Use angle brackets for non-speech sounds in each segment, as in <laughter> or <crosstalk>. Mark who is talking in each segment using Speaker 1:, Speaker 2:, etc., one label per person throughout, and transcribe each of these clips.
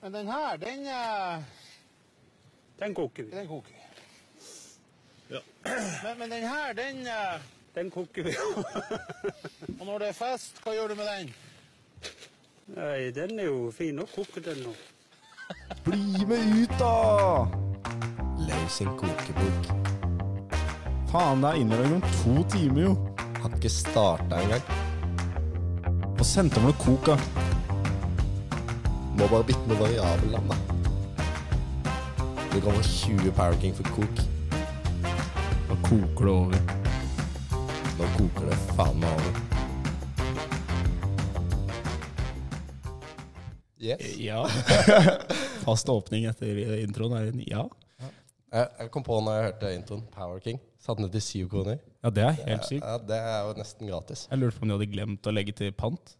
Speaker 1: Men den her, den, eh,
Speaker 2: Den koker vi.
Speaker 1: den koker.
Speaker 2: Ja.
Speaker 1: Men, men den her, den eh,
Speaker 2: Den koker vi. <laughs>
Speaker 1: Og når det er fest, hva gjør du med den?
Speaker 2: Nei, den er jo fin å koke den nå.
Speaker 3: Bli med ut, da! Leis en kokebok. Faen, det er innlevering om to timer, jo. Hadde ikke starta engang. Og sendte meg noe kok, da.
Speaker 4: Må bare bytte med variabel navn, da. Det kommer 20 Power King for kok.
Speaker 3: Da koker det over.
Speaker 4: Nå koker det faen meg over. Yes.
Speaker 3: Ja. Fast åpning etter introen er en ja.
Speaker 4: Jeg, jeg kom på når jeg hørte introen, Power King. Satt ned til syv kroner.
Speaker 3: Ja, det er helt sykt.
Speaker 4: Ja, det er jo nesten gratis.
Speaker 3: Jeg lurte på om de hadde glemt å legge til pant.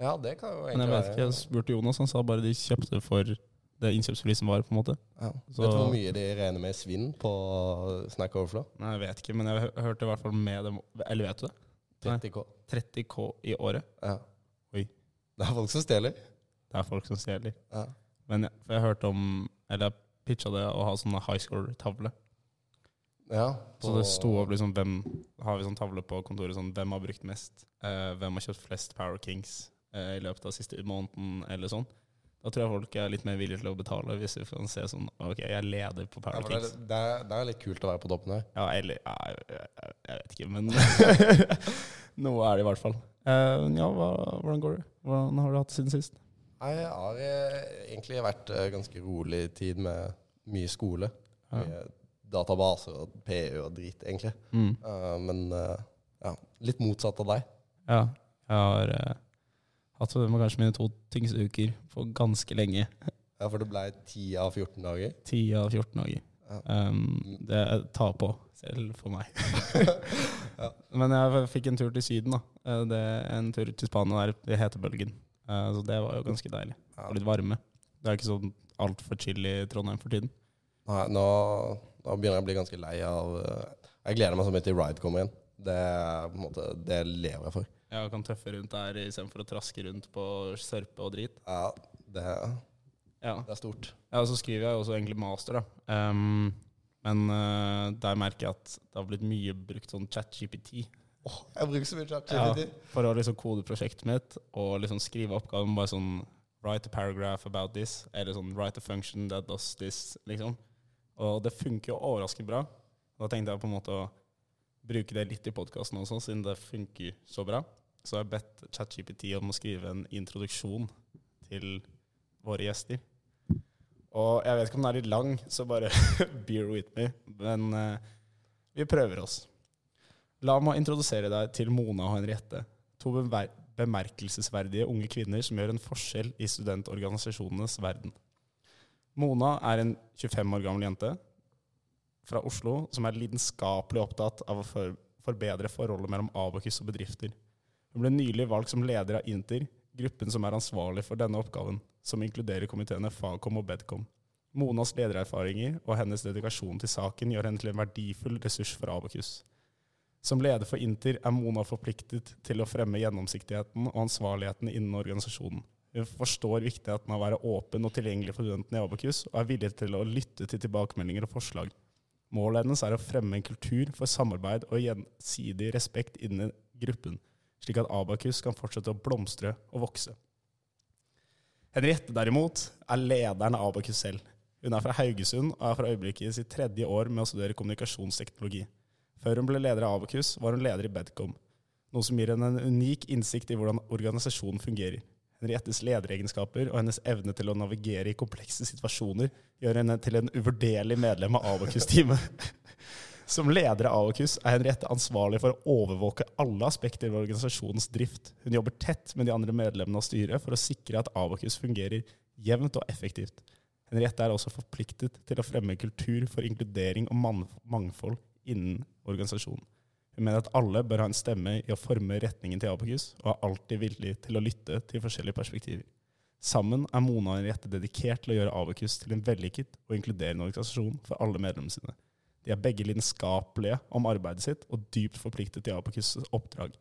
Speaker 4: Ja, det kan jo
Speaker 3: Men
Speaker 4: egentlig
Speaker 3: jeg vet ikke, altså. jeg spurte Jonas, han sa bare de kjøpte for det innkjøpsprisen var, på en måte.
Speaker 4: Ja.
Speaker 3: Så-
Speaker 4: Vet du hvor mye de regner med i svinn på Snack Overflow?
Speaker 3: Nei, jeg vet ikke, men jeg hø- hørte i hvert fall med dem Eller vet du det?
Speaker 4: 30K.
Speaker 3: 30K i året.
Speaker 4: Ja.
Speaker 3: Oi.
Speaker 4: Det er folk som stjeler.
Speaker 3: Det er folk som stjeler.
Speaker 4: Ja.
Speaker 3: Men jeg, for jeg hørte om Eller jeg pitcha det å ha sånne high score-tavle.
Speaker 4: ja
Speaker 3: Så det sto opp liksom hvem Har vi sånn tavle på kontoret sånn Hvem har brukt mest? Eh, hvem har kjøpt flest Power Kings eh, i løpet av siste måneden, eller sånn? Da tror jeg folk er litt mer villige til å betale, hvis vi kan se sånn Ok, jeg leder på
Speaker 4: ja,
Speaker 3: Power
Speaker 4: for det,
Speaker 3: Kings.
Speaker 4: er, det, er, det er litt kult å være på toppen her.
Speaker 3: Ja, eller ja, jeg, jeg, jeg vet ikke, men <laughs> Noe er det i hvert fall. Eh, ja, hva, hvordan går det? Hvordan har du hatt det siden sist?
Speaker 4: Nei, Jeg har eh, egentlig vært eh, ganske rolig i tid med mye skole.
Speaker 3: Ja.
Speaker 4: Mye databaser og PU og drit, egentlig.
Speaker 3: Mm.
Speaker 4: Eh, men eh, ja, litt motsatt av deg.
Speaker 3: Ja, jeg har eh, hatt det med kanskje mine to tyngste uker for ganske lenge.
Speaker 4: Ja, For det ble 10 av 14 dager.
Speaker 3: 10 av 14 dager.
Speaker 4: Ja.
Speaker 3: Um, det tar på selv for meg. Men jeg fikk en tur til Syden, da. Eh, Det, en tur til Spania der. Det heter Bølgen. Eh, så det var jo ganske deilig. Og litt varme. Det er ikke sånn altfor chill i Trondheim for tiden.
Speaker 4: Nei, nå, nå begynner jeg å bli ganske lei av eh, Jeg gleder meg så mye til Ride kommer igjen. Det, er på en måte, det lever jeg for.
Speaker 3: Jeg kan tøffe rundt der istedenfor å traske rundt på sørpe og drit.
Speaker 4: Ja, det,
Speaker 3: Ja.
Speaker 4: det er stort.
Speaker 3: Ja, og så skriver jeg jo også egentlig master, da. Ehm, men eh, der merker jeg at det har blitt mye brukt sånn ChatGPT.
Speaker 4: Åh, jeg bruker så mye
Speaker 3: Ja,
Speaker 4: ChatGPT.
Speaker 3: for å liksom kode prosjektet mitt og liksom skrive oppgaven bare sånn Write a paragraph about this, eller sånn write a function that does this, liksom. Og det funker jo overraskende bra. Da tenkte jeg på en måte å bruke det litt i podkasten også, siden det funker så bra. Så jeg har bedt ChatGPT om å skrive en introduksjon til våre gjester. Og jeg vet ikke om den er litt lang, så bare <laughs> bear with me. Men eh, vi prøver oss. La meg introdusere deg til Mona og Henriette, to bemer bemerkelsesverdige unge kvinner som gjør en forskjell i studentorganisasjonenes verden. Mona er en 25 år gammel jente fra Oslo som er lidenskapelig opptatt av å for forbedre forholdet mellom Abakus og bedrifter. Hun ble nylig valgt som leder av Inter, gruppen som er ansvarlig for denne oppgaven, som inkluderer komiteene Fagkom og Bedkom. Monas ledererfaringer og hennes dedikasjon til saken gjør henne til en verdifull ressurs for Abakus. Som leder for Inter er Mona forpliktet til å fremme gjennomsiktigheten og ansvarligheten innen organisasjonen. Hun forstår viktigheten av å være åpen og tilgjengelig for studentene i Abakus, og er villig til å lytte til tilbakemeldinger og forslag. Målet hennes er å fremme en kultur for samarbeid og gjensidig respekt innen gruppen, slik at Abakus kan fortsette å blomstre og vokse. Henriette derimot er lederen av Abakus selv. Hun er fra Haugesund og er for øyeblikket i sitt tredje år med å studere kommunikasjonsteknologi. Før hun ble leder av Abakus, var hun leder i Bedcom, noe som gir henne en unik innsikt i hvordan organisasjonen fungerer. Henriettes lederegenskaper og hennes evne til å navigere i komplekse situasjoner gjør henne til en uvurderlig medlem av Abakus-teamet. <laughs> Som leder av Abakus er Henriette ansvarlig for å overvåke alle aspekter ved organisasjonens drift. Hun jobber tett med de andre medlemmene av styret for å sikre at Abakus fungerer jevnt og effektivt. Henriette er også forpliktet til å fremme kultur for inkludering og mann- mangfold innen organisasjonen. Hun mener at alle bør ha en stemme i å forme retningen til Abakus, og er alltid villig til å lytte til forskjellige perspektiver. Sammen er Mona og Henriette dedikert til å gjøre Abakus til en vellykket og inkluderende organisasjon for alle medlemmene sine. De er begge lidenskapelige om arbeidet sitt og dypt forpliktet til Abakus' oppdrag.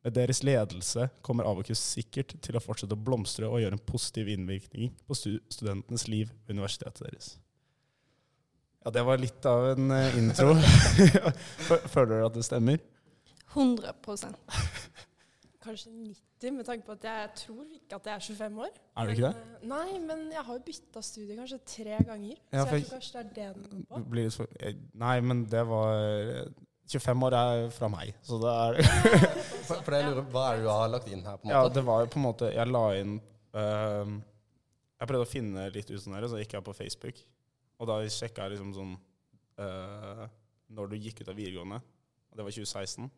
Speaker 3: Med deres ledelse kommer Abokus sikkert til å fortsette å blomstre og gjøre en positiv innvirkning på stu studentenes liv ved universitetet deres. Ja, det var litt av en eh, <laughs> intro. Fø- Føler dere at det stemmer?
Speaker 5: 100
Speaker 6: Kanskje 90, med tanke på at jeg tror ikke at jeg er 25 år.
Speaker 3: Er du ikke det?
Speaker 6: Men, eh, Nei, men jeg har jo bytta studie kanskje tre ganger.
Speaker 3: Ja,
Speaker 6: så
Speaker 3: for
Speaker 6: jeg
Speaker 3: jeg-
Speaker 6: tror kanskje det er det den går på.
Speaker 3: Blir litt for, eh, nei, men det var 25 år er fra meg, så det er
Speaker 4: For, for det jeg lurer, hva er det du har lagt inn her, på en
Speaker 3: Ja,
Speaker 4: måte?
Speaker 3: det var jo på en måte Jeg la inn ehm, Jeg prøvde å finne litt ut sånn her, så gikk jeg på Facebook. Og da sjekka jeg liksom sånn eh, Når du gikk ut av videregående. Og det var 2016.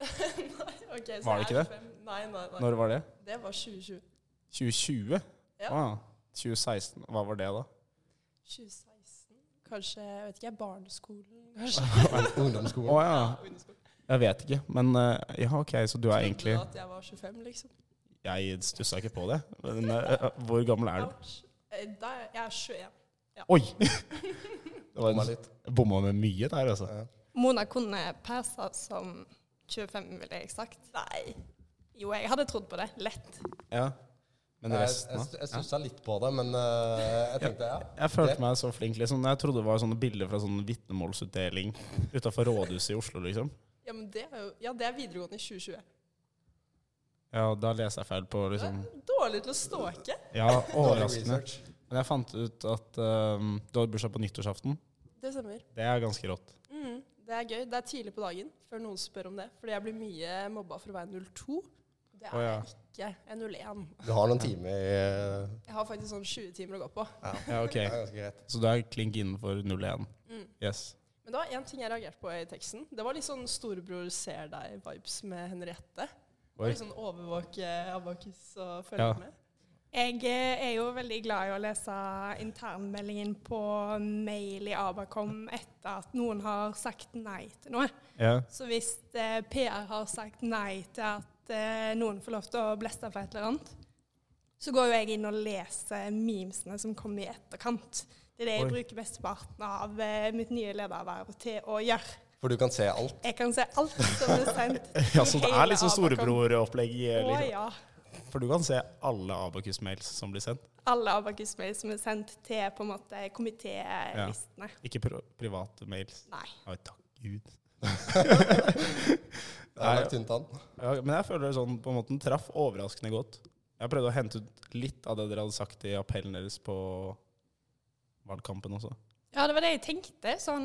Speaker 6: <laughs> nei, ok, så
Speaker 3: Var det
Speaker 6: jeg
Speaker 3: ikke
Speaker 6: er
Speaker 3: det?
Speaker 6: 25. Nei, nei, nei.
Speaker 3: Når var det?
Speaker 6: Det var 2020.
Speaker 3: 2020?
Speaker 6: Ja.
Speaker 3: Ah, 2016. Hva var det, da?
Speaker 6: 2016. Kanskje, jeg vet ikke, barneskolen, kanskje.
Speaker 3: Å
Speaker 4: Ungdomsskolen?
Speaker 3: ja.
Speaker 6: Ungdomsskolen.
Speaker 3: Jeg vet ikke. Men eh, ja, OK, så du er <laughs> egentlig
Speaker 6: Trodde du at jeg var 25, liksom?
Speaker 3: Jeg stussa ikke på det. Men eh, hvor gammel er du?
Speaker 6: Ouch. Eh, Da, er- jeg er 21.
Speaker 3: Oi! <laughs> Det var
Speaker 4: Bomma
Speaker 3: en,
Speaker 4: litt.
Speaker 3: bomma med mye der, altså.
Speaker 4: Ja.
Speaker 5: Mona kunne persa som 25, ville jeg sagt.
Speaker 6: Nei.
Speaker 5: Jo, jeg hadde trodd på det. Lett.
Speaker 3: Ja. Men
Speaker 4: Jeg,
Speaker 3: resten,
Speaker 4: jeg,
Speaker 3: da?
Speaker 4: jeg stussa litt på det, men eh, jeg tenkte ja.
Speaker 3: Jeg følte meg så flink, liksom. Jeg trodde det var sånne bilder fra sånn vitnemålsutdeling utafor rådhuset i Oslo, liksom.
Speaker 6: Ja, men det er jo Ja, det er videregående i 2020.
Speaker 3: Ja, da leser jeg feil på,
Speaker 6: Du er
Speaker 3: liksom.
Speaker 6: dårlig til å stalke.
Speaker 3: Ja,
Speaker 4: Dårlig
Speaker 3: <laughs> overraskende.
Speaker 4: research.
Speaker 3: Men jeg fant ut at ehm, du hadde bursdag på nyttårsaften.
Speaker 6: Det stemmer.
Speaker 3: Det er ganske rått.
Speaker 6: Mm, det er gøy. Det er tidlig på dagen før noen spør om det. Fordi jeg blir mye mobba for å være 02. Det er
Speaker 3: Å, ja.
Speaker 6: jeg ikke. Jeg er 01.
Speaker 4: Du har noen timer i eh,
Speaker 6: Jeg har faktisk sånn 20 timer å gå på.
Speaker 3: Ja, ok.
Speaker 4: Det er ganske greit.
Speaker 3: Så du er klink innenfor 01.
Speaker 6: Mm.
Speaker 3: Yes.
Speaker 6: Men det var én ting jeg reagerte på i teksten. Det var litt sånn storebror ser deg-vibes med Henriette. Det var
Speaker 3: Oi.
Speaker 6: Litt sånn overvåke Abakus og følge
Speaker 3: Ja.
Speaker 6: med.
Speaker 5: Jeg eh, er jo veldig glad i å lese internmeldingen på mail i Abakom etter at noen har sagt nei til noe.
Speaker 3: Ja.
Speaker 5: Så hvis eh, PR har sagt nei til at eh, noen får lov til å bleste for et eller annet, så går jo jeg inn og leser memesene som kom i etterkant. Det er det jeg
Speaker 3: Oi.
Speaker 5: bruker mesteparten av eh, mitt nye lederverv til å gjøre.
Speaker 4: For du kan se alt.
Speaker 5: Jeg kan se alt som er sendt. i
Speaker 3: <laughs> ja, så det
Speaker 5: hele
Speaker 3: er liksom
Speaker 5: Abakom.
Speaker 3: storebror-opplegg.
Speaker 5: Å
Speaker 3: Liksom.
Speaker 5: ja.
Speaker 3: For du kan se alle Abakus-mails som blir sendt.
Speaker 5: Alle Abakus-mail som er sendt til på en måte komitélistene.
Speaker 3: Ikke pri private mails.
Speaker 5: Nei.
Speaker 3: Oi, takk Gud.
Speaker 4: Det er
Speaker 3: Nei.
Speaker 4: lagt tynt an.
Speaker 3: Ja, men jeg føler det sånn på en måte den traff overraskende godt. Jeg prøvde å hente ut litt av det dere hadde sagt i appellen deres på valgkampen også.
Speaker 5: Ja, det var det jeg tenkte. Sånn,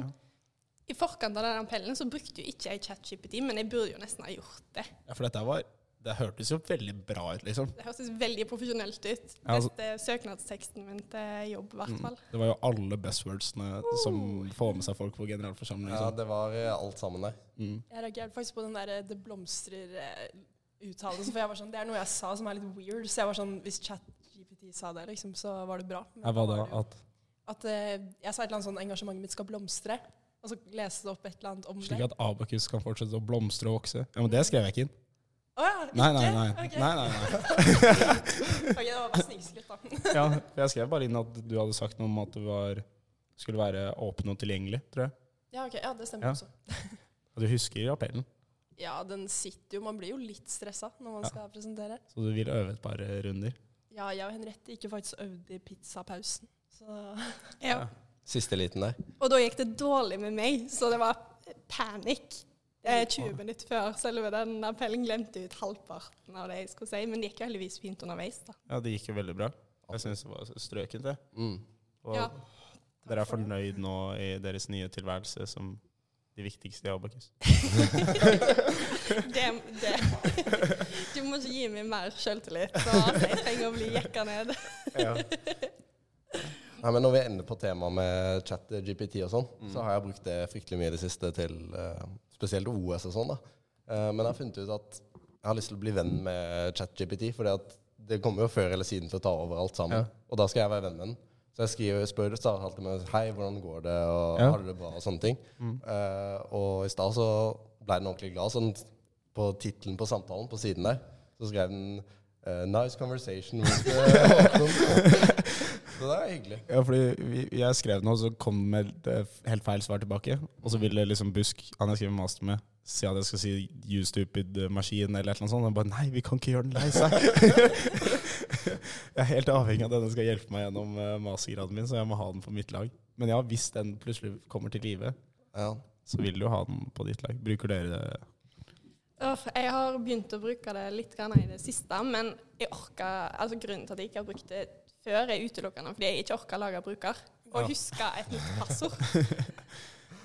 Speaker 5: I forkant av den appellen så brukte jo ikke jeg ChatGPT, men jeg burde jo nesten ha gjort det.
Speaker 3: Ja, for dette var Det hørtes jo veldig bra ut, liksom.
Speaker 5: Det hørtes veldig profesjonelt ut.
Speaker 3: Ja, altså- Mm.
Speaker 5: Neste søknadsteksten min til jobb, i hvert fall.
Speaker 3: Det var jo alle buzzwordsene som får med seg folk på generalforsamling.
Speaker 4: Ja,
Speaker 3: Liksom.
Speaker 4: det var eh, alt sammen der.
Speaker 3: Mm.
Speaker 6: Jeg reagerte faktisk på den der eh, 'det blomstrer'-uttalelsen. For jeg var sånn, det er noe jeg sa som er litt weird. Så jeg var sånn, hvis ChatGPT sa det, liksom, så var det bra. Men
Speaker 3: Her var
Speaker 6: da
Speaker 3: det
Speaker 6: var det jo-
Speaker 3: at
Speaker 6: At eh, jeg sa et eller annet sånn 'engasjementet mitt skal blomstre'. Og så leste det opp et eller annet om
Speaker 3: Slik
Speaker 6: det.
Speaker 3: at Abakus kan fortsette å blomstre og vokse. Ja, Men det skrev jeg ikke inn.
Speaker 6: Å ja, ikke?
Speaker 3: Nei, nei, nei.
Speaker 6: Ok.
Speaker 3: nei, nei, nei.
Speaker 6: Ok, det var bare snikskritt, da.
Speaker 3: <laughs> Ja, for jeg skrev bare inn at du hadde sagt noe om at du var, skulle være åpen og tilgjengelig, tror jeg.
Speaker 6: Ja, ok, ja, det stemmer
Speaker 3: Ja.
Speaker 6: også.
Speaker 3: Og du husker appellen,
Speaker 6: Ja, den sitter jo. Man blir jo litt stressa når man
Speaker 3: Ja.
Speaker 6: skal presentere.
Speaker 3: så du vil øve et par runder.
Speaker 6: Ja, jeg og Henriette gikk jo faktisk og øvde i pizzapausen. Så
Speaker 5: Ja.
Speaker 4: Siste liten der.
Speaker 5: Og da gikk det dårlig med meg, så det var panikk. Eh, 20 minutter før selve den appellen glemte jeg ut halvparten av det jeg skulle si, men det gikk jo heldigvis fint underveis. da.
Speaker 3: Ja, det gikk jo veldig bra. Jeg syns det var strøkent, det.
Speaker 4: Mm.
Speaker 3: Og
Speaker 5: Ja.
Speaker 3: dere er fornøyd nå i deres nye tilværelse som de viktigste i Abakus.
Speaker 5: Det, det. Du må ikke gi meg mer selvtillit, så altså, jeg trenger å bli jekka ned.
Speaker 4: Nei, men Når vi ender på temaet med chat GPT og sånn, så har jeg brukt det fryktelig mye i det siste til eh, spesielt OS og sånn. da. Eh, men jeg har funnet ut at jeg har lyst til å bli venn med chat GPT, for det kommer jo før eller siden til å ta over alt sammen.
Speaker 3: Ja.
Speaker 4: Og da skal jeg være venn med den. Så jeg skriver, spør starter alltid med 'Hei, hvordan går det?' og
Speaker 3: Ja. Mm.
Speaker 4: 'Har du det bra?' og sånne ting. Eh, og i stad så ble den ordentlig glad. sånn På tittelen på samtalen på siden der så skrev den eh, 'Nice conversation with eh,
Speaker 3: <laughs>
Speaker 4: Håkon'. Så det er hyggelig.
Speaker 3: Ja, fordi vi, jeg skrev noe, så kom det med et eh, helt feil svar tilbake. Og så ville liksom Busk, han jeg skrev master med, si at jeg skal si 'you stupid machine' eller et eller annet sånt. Og jeg bare nei, vi kan ikke gjøre den lei seg. <laughs> jeg er helt avhengig av at denne skal hjelpe meg gjennom eh, mastergraden min, så jeg må ha den på mitt lag. Men ja, hvis den plutselig kommer til live,
Speaker 4: Ja.
Speaker 3: så vil du ha den på ditt lag. Bruker dere det?
Speaker 5: Åh, jeg har begynt å bruke det litt grann i det siste, men jeg orker, altså grunnen til at jeg ikke har brukt det før, er utelukkende fordi jeg ikke orker å lage bruker og huske et nytt passord.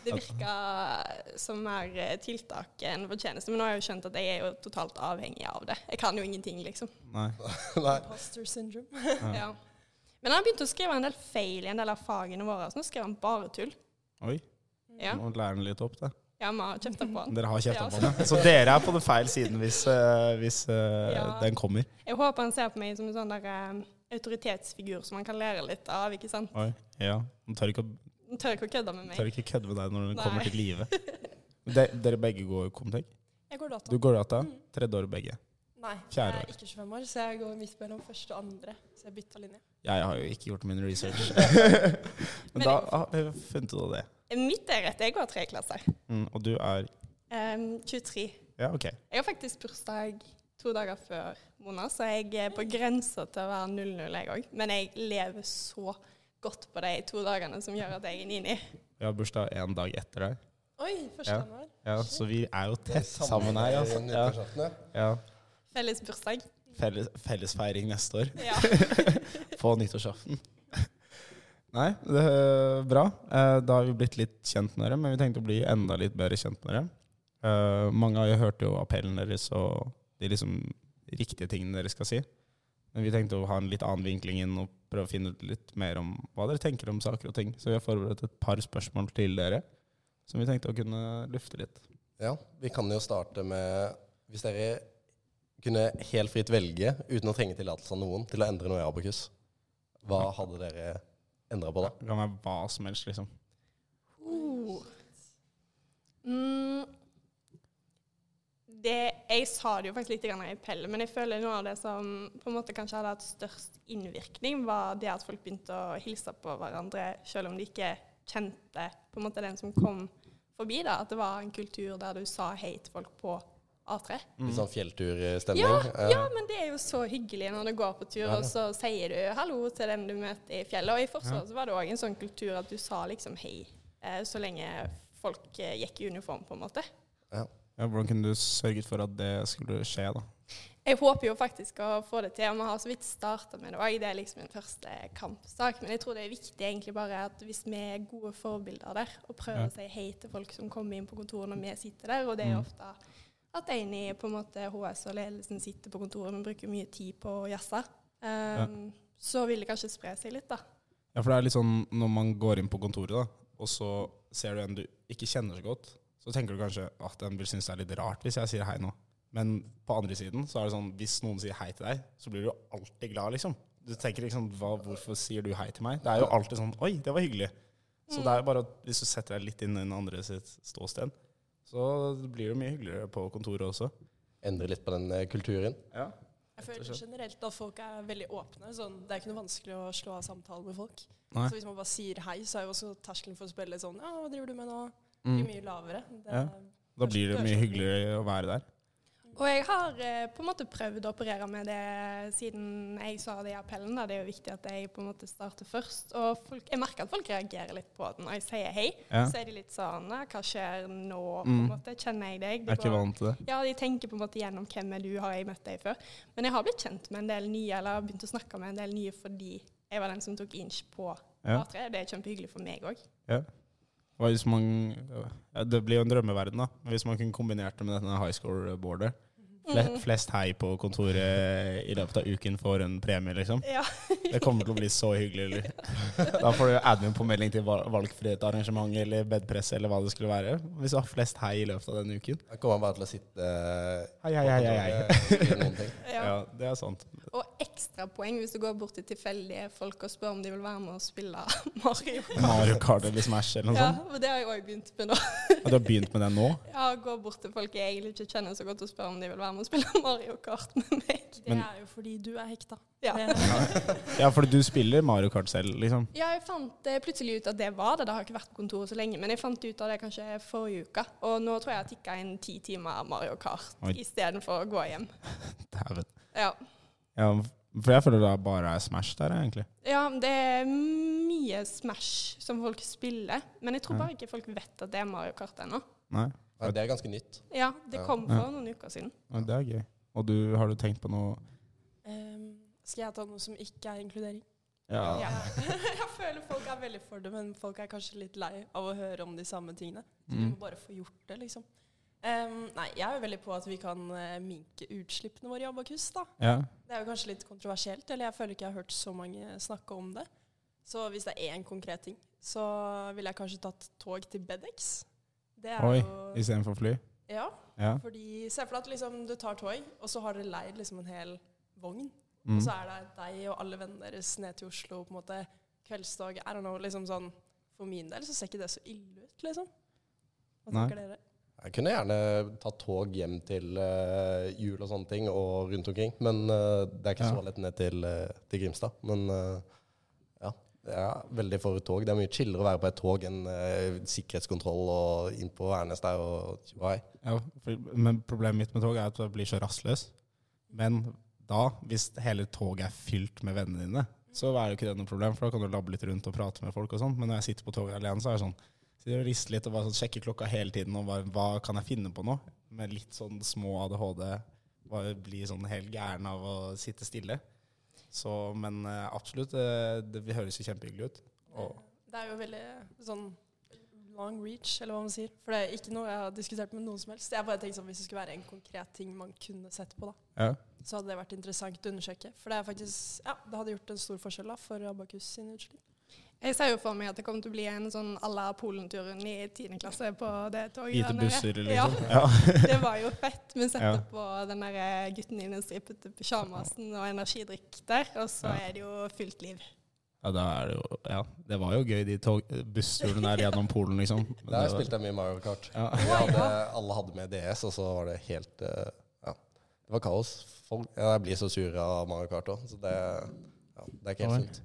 Speaker 5: Det virker som mer eh, tiltak enn fortjeneste, men nå har jeg jo skjønt at jeg er jo totalt avhengig av det. Jeg kan jo ingenting, liksom.
Speaker 3: Nei.
Speaker 4: <laughs> Nei.
Speaker 6: Imposter syndrome. <laughs>
Speaker 5: Ja. Men han begynte å skrive en del feil i en del av fagene våre, så nå skriver han bare tull.
Speaker 3: Oi,
Speaker 5: Ja,
Speaker 3: må lære den litt opp, da.
Speaker 5: ja vi har kjefta på han.
Speaker 3: Dere har kjefta
Speaker 5: Ja, altså.
Speaker 3: på meg. Så dere er på den feil siden hvis, eh, hvis eh,
Speaker 5: Ja.
Speaker 3: den kommer.
Speaker 5: Jeg håper han ser på meg som en sånn der eh, autoritetsfigur som han kan lære litt av, ikke sant?
Speaker 3: Oi, ja. Den tør ikke, å-
Speaker 5: Han tør ikke å kødde med meg.
Speaker 3: tør ikke kødde med deg når den
Speaker 5: Nei.
Speaker 3: kommer til
Speaker 5: <laughs>
Speaker 3: live. De, dere begge går Comtec?
Speaker 6: Jeg går data.
Speaker 3: Du går data? Tredje året begge.
Speaker 6: Nei, jeg
Speaker 3: Fjerde
Speaker 6: er ikke 25 år, så jeg går midt mellom første og andre. Så jeg bytta linje.
Speaker 3: Jeg har jo ikke gjort min
Speaker 5: <laughs>
Speaker 3: research. Men
Speaker 5: Men
Speaker 3: da har vi funnet ut av det.
Speaker 5: Mitt er rett, jeg går tre klasser.
Speaker 3: Mm, og du er
Speaker 5: Em, 23.
Speaker 3: Ja, OK.
Speaker 5: Jeg har faktisk bursdag to dager før Mona, så jeg er på grensa til å være 00, jeg òg. Men jeg lever så godt på de to dagene som gjør at jeg er nini.
Speaker 3: Jeg har bursdag én dag etter deg.
Speaker 6: Oi, første
Speaker 3: Ja.
Speaker 6: januar.
Speaker 3: Ja, så vi er jo tett sammen her. Altså.
Speaker 4: Den
Speaker 3: Ja,
Speaker 4: nyttårsaften,
Speaker 3: ja.
Speaker 5: Felles bursdag.
Speaker 3: Felles, fellesfeiring neste år.
Speaker 5: Ja.
Speaker 3: på nyttårsaften. <laughs> Nei, det er bra. Eh, Da har vi blitt litt kjent med dere, men vi tenkte å bli enda litt bedre kjent med dere. Eh, Mange av dere hørte jo appellen deres og de liksom riktige tingene dere skal si. Men vi tenkte å ha en litt annen vinkling inn og prøve å finne ut litt mer om hva dere tenker om saker og ting. Så vi har forberedt et par spørsmål til dere som vi tenkte å kunne lufte litt.
Speaker 4: ja. ja. Vi kan jo starte med Hvis dere kunne helt fritt velge, uten å trenge tillatelse av noen, til å endre noe i Abakus, hva hadde dere endra på da?
Speaker 3: Det kan være hva som helst, liksom.
Speaker 5: Uh. Mm. Det, jeg sa det jo faktisk litt grann i pell, men jeg føler noe av det som på en måte kanskje hadde hatt størst innvirkning, var det at folk begynte å hilse på hverandre selv om de ikke kjente på en måte den som kom forbi. da, At det var en kultur der du sa hei til folk på A3.
Speaker 4: Litt sånn fjellturstemning?
Speaker 5: Ja,
Speaker 4: Eh,
Speaker 5: ja, men det er jo så hyggelig når du går på tur, og så sier du hallo til den du møter i fjellet. Og i Forsvaret så var det òg en sånn kultur at du sa liksom hei, eh, så lenge folk eh, gikk i uniform, på en måte.
Speaker 3: Ja, hvordan kunne du sørget for at det skulle skje, da?
Speaker 5: Jeg håper jo faktisk å få det til, og vi har så vidt starta med det òg. Det er liksom en første kampsak. Men jeg tror det er viktig egentlig bare at hvis vi er gode forbilder der, og prøver
Speaker 3: Ja.
Speaker 5: å si hei til folk som kommer inn på kontoret når vi sitter der, og det er
Speaker 3: Mm.
Speaker 5: ofte at en i på en måte HS og ledelsen sitter på kontoret, men bruker mye tid på å jazze, um, så vil det kanskje spre seg litt, da.
Speaker 3: Ja, for det er litt sånn når man går inn på kontoret, da, og så ser du en du ikke kjenner så godt, så tenker du kanskje at den vil synes det er litt rart hvis jeg sier hei nå. Men på andre siden så er det sånn hvis noen sier hei til deg, så blir du alltid glad, liksom. Du tenker liksom hva, hvorfor sier du hei til meg? Det er jo alltid sånn oi, det var hyggelig. Så det er bare at hvis du setter deg litt inn i den andre sitt ståsted, så blir det mye hyggeligere på kontoret også.
Speaker 4: Endre litt på den eh, kulturen?
Speaker 3: Ja.
Speaker 6: Jeg føler generelt at folk er veldig åpne. Sånn, det er ikke noe vanskelig å slå av samtaler med folk.
Speaker 3: Nei.
Speaker 6: Så hvis man bare sier hei, så er jo også terskelen for å spille litt sånn Ja, hva driver du med nå?
Speaker 3: Mm.
Speaker 6: Blir mye lavere. Det
Speaker 3: Ja.
Speaker 6: er,
Speaker 3: Da blir det mye hyggeligere å være der.
Speaker 5: Og jeg har eh, på en måte prøvd å operere med det siden jeg sa det i appellen. Da. Det er jo viktig at jeg på en måte starter først. Og folk, jeg merker at folk reagerer litt på det når jeg sier hei.
Speaker 3: Ja.
Speaker 5: Så er de litt sånn «Nei, Hva skjer nå? på en
Speaker 3: Mm.
Speaker 5: måte? Kjenner jeg
Speaker 3: Jeg
Speaker 5: deg? De
Speaker 3: er ikke
Speaker 5: går-
Speaker 3: vant til det.
Speaker 5: Ja, de tenker på en måte gjennom hvem er du, har jeg møtt deg før? Men jeg har blitt kjent med en del nye, eller har begynt å snakke med en del nye fordi jeg var den som tok inch på
Speaker 3: Ja.
Speaker 5: A3. Det er kjempehyggelig for meg òg.
Speaker 3: Hva Hvis man, ja, det blir jo en drømmeverden, da. Men Hvis man kunne kombinert det med denne high score-boardet.
Speaker 5: Mhm.
Speaker 3: Fle flest hei på kontoret i løpet av uken får en premie, liksom.
Speaker 5: Ja.
Speaker 3: Det kommer til å bli så hyggelig. Eller?
Speaker 5: <laughs>
Speaker 3: Da får du jo admin på melding til val- valgfrihet, arrangement eller bedpress eller hva det skulle være. Hvis du har flest hei i løpet av den uken.
Speaker 4: Da kommer han bare til å sitte eh,
Speaker 3: Hei, hei, hei, hei. hei.
Speaker 4: og gjøre noen ting.
Speaker 5: Ja.
Speaker 3: Ja, det er sant.
Speaker 5: Og ekstrapoeng hvis du går bort til tilfeldige folk og spør om de vil være med og spille <laughs> Mario.
Speaker 3: Mario Kart eller Smash eller noe
Speaker 5: Ja,
Speaker 3: sånt.
Speaker 5: og det har jeg òg begynt med nå. <laughs>
Speaker 3: Og du har begynt med det nå?
Speaker 5: Ja, Gå bort til folk jeg egentlig ikke kjenner så godt og spør om de vil være med om å spille <laughs> Mario Kart med meg.
Speaker 3: Men-
Speaker 6: Det er jo fordi du er hekta.
Speaker 5: Ja.
Speaker 6: Det-
Speaker 3: Ja, for du spiller Mario Kart selv, liksom.
Speaker 5: Ja, jeg fant eh, plutselig ut at det var det. Det har ikke vært på kontoret så lenge, men jeg fant ut av det kanskje forrige uke. Og nå tror jeg jeg har tikka inn ti timer Mario Kart
Speaker 3: Oi.
Speaker 5: istedenfor å gå hjem.
Speaker 3: Dæven.
Speaker 5: Ja.
Speaker 3: Ja, for jeg føler det er bare er Smash der, egentlig.
Speaker 5: ja, det er mye Smash som folk spiller, men jeg tror bare ikke folk vet at det er Mario Kart ennå.
Speaker 3: Nei,
Speaker 4: Nei, det er ganske nytt.
Speaker 5: Ja, det
Speaker 4: Ja.
Speaker 5: kom for noen uker siden.
Speaker 3: men det er gøy. Og du, har du tenkt på noe
Speaker 6: Ehm, skal jeg ta noe som ikke er inkludering?
Speaker 3: Ja.
Speaker 6: Ja. <laughs> Jeg føler folk er veldig for det, men folk er kanskje litt lei av å høre om de samme tingene. Så vi
Speaker 3: Mm.
Speaker 6: må bare få gjort det, liksom. Ehm, nei, jeg er jo veldig på at vi kan eh, minke utslippene våre i Abakus, da.
Speaker 3: ja.
Speaker 6: Det er jo kanskje litt kontroversielt, eller jeg føler ikke jeg har hørt så mange snakke om det. Så hvis det er én konkret ting, så ville jeg kanskje tatt tog til Bedex. Det er
Speaker 3: Oi,
Speaker 6: jo
Speaker 3: Istedenfor fly?
Speaker 6: Ja,
Speaker 3: Ja.
Speaker 6: fordi se for deg at liksom, du tar tog, og så har dere leid liksom en hel vogn.
Speaker 3: Mm.
Speaker 6: Og så er det deg og alle vennene deres ned til Oslo på en måte kveldstog. I don't know, liksom sånn For min del så ser ikke det så ille ut, liksom. Hva
Speaker 3: Nei.
Speaker 6: tenker dere?
Speaker 4: Jeg kunne gjerne tatt tog hjem til eh, jul og sånne ting, og rundt omkring. Men eh, det er ikke
Speaker 3: Ja.
Speaker 4: så lett ned til, eh, til Grimstad. Men eh, ja, jeg er veldig for tog. Det er mye chillere å være på et tog enn eh, sikkerhetskontroll og inn på Værnes der og tjohei.
Speaker 3: Ja, for, men problemet mitt med tog er at jeg blir så rastløs. Men da, hvis hele toget er fylt med vennene dine, så er jo ikke det noe problem, for da kan du labbe litt rundt og prate med folk og sånn. Men når jeg sitter på toget alene, så er det sånn Sitter og rister litt og bare sånn, sjekker klokka hele tiden og bare, hva kan jeg finne på nå? Med litt sånn små ADHD. Bare blir sånn helt gæren av å sitte stille. Så, men eh, absolutt, eh, det, det høres jo kjempehyggelig ut. Og,
Speaker 6: Det er jo veldig sånn long reach, eller hva man sier. For det er ikke noe jeg har diskutert med noen som helst. Jeg bare tenkte sånn, Hvis det skulle være en konkret ting man kunne sett på, da,
Speaker 3: ja.
Speaker 6: så hadde det vært interessant å undersøkke. For det er faktisk, ja, det hadde gjort en stor forskjell da, for Abakus sine utslipp.
Speaker 5: Jeg ser jo for meg at det kommer til å bli en sånn à la Polenturen i 10. klasse på det toget.
Speaker 3: Hvite
Speaker 5: der nede.
Speaker 3: busser,
Speaker 5: Ja.
Speaker 3: liksom. Ja.
Speaker 5: <laughs> Det var jo fett. Vi setter
Speaker 3: Ja.
Speaker 5: på den der eh, gutten i den stripete pysjamasen og energidrikk der, og så
Speaker 3: Ja.
Speaker 5: er det jo fullt liv.
Speaker 3: Ja, da er det jo Ja, det var jo gøy, de tog, bussturene <laughs> der gjennom Polen, liksom. Men det
Speaker 4: Der
Speaker 3: var-
Speaker 4: spilte jeg mye Mario Kart.
Speaker 3: Ja.
Speaker 4: Vi hadde, alle hadde med DS, og så var det helt eh, Ja, det var kaos. Folk, ja, jeg blir så sur av Mario Kart òg, så det, ja, det er ikke helt
Speaker 3: Oi.
Speaker 4: sunt.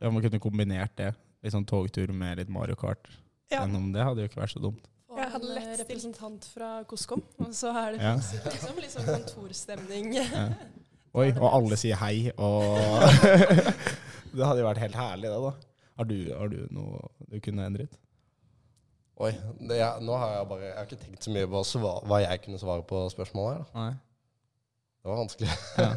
Speaker 3: ja, man kunne kombinert det. Litt sånn togtur med litt Mario Kart.
Speaker 5: Ja.
Speaker 3: Gjennom det hadde jo ikke vært så dumt.
Speaker 6: Og
Speaker 5: Jeg hadde
Speaker 6: en
Speaker 5: lett
Speaker 6: eh,
Speaker 5: stilt.
Speaker 6: representant fra Koskom. Og så er det
Speaker 3: Ja.
Speaker 6: plutselig liksom, litt sånn kontorstemning.
Speaker 3: Oi, og alle sier hei, og <laughs> Det hadde jo vært helt herlig, det, da. Har du, har du noe du kunne endret?
Speaker 4: Oi, det, jeg, nå har jeg bare Jeg har ikke tenkt så mye på sva- hva jeg kunne svare på spørsmålet her. da.
Speaker 3: Nei.
Speaker 4: Det var vanskelig.
Speaker 3: Ja. Men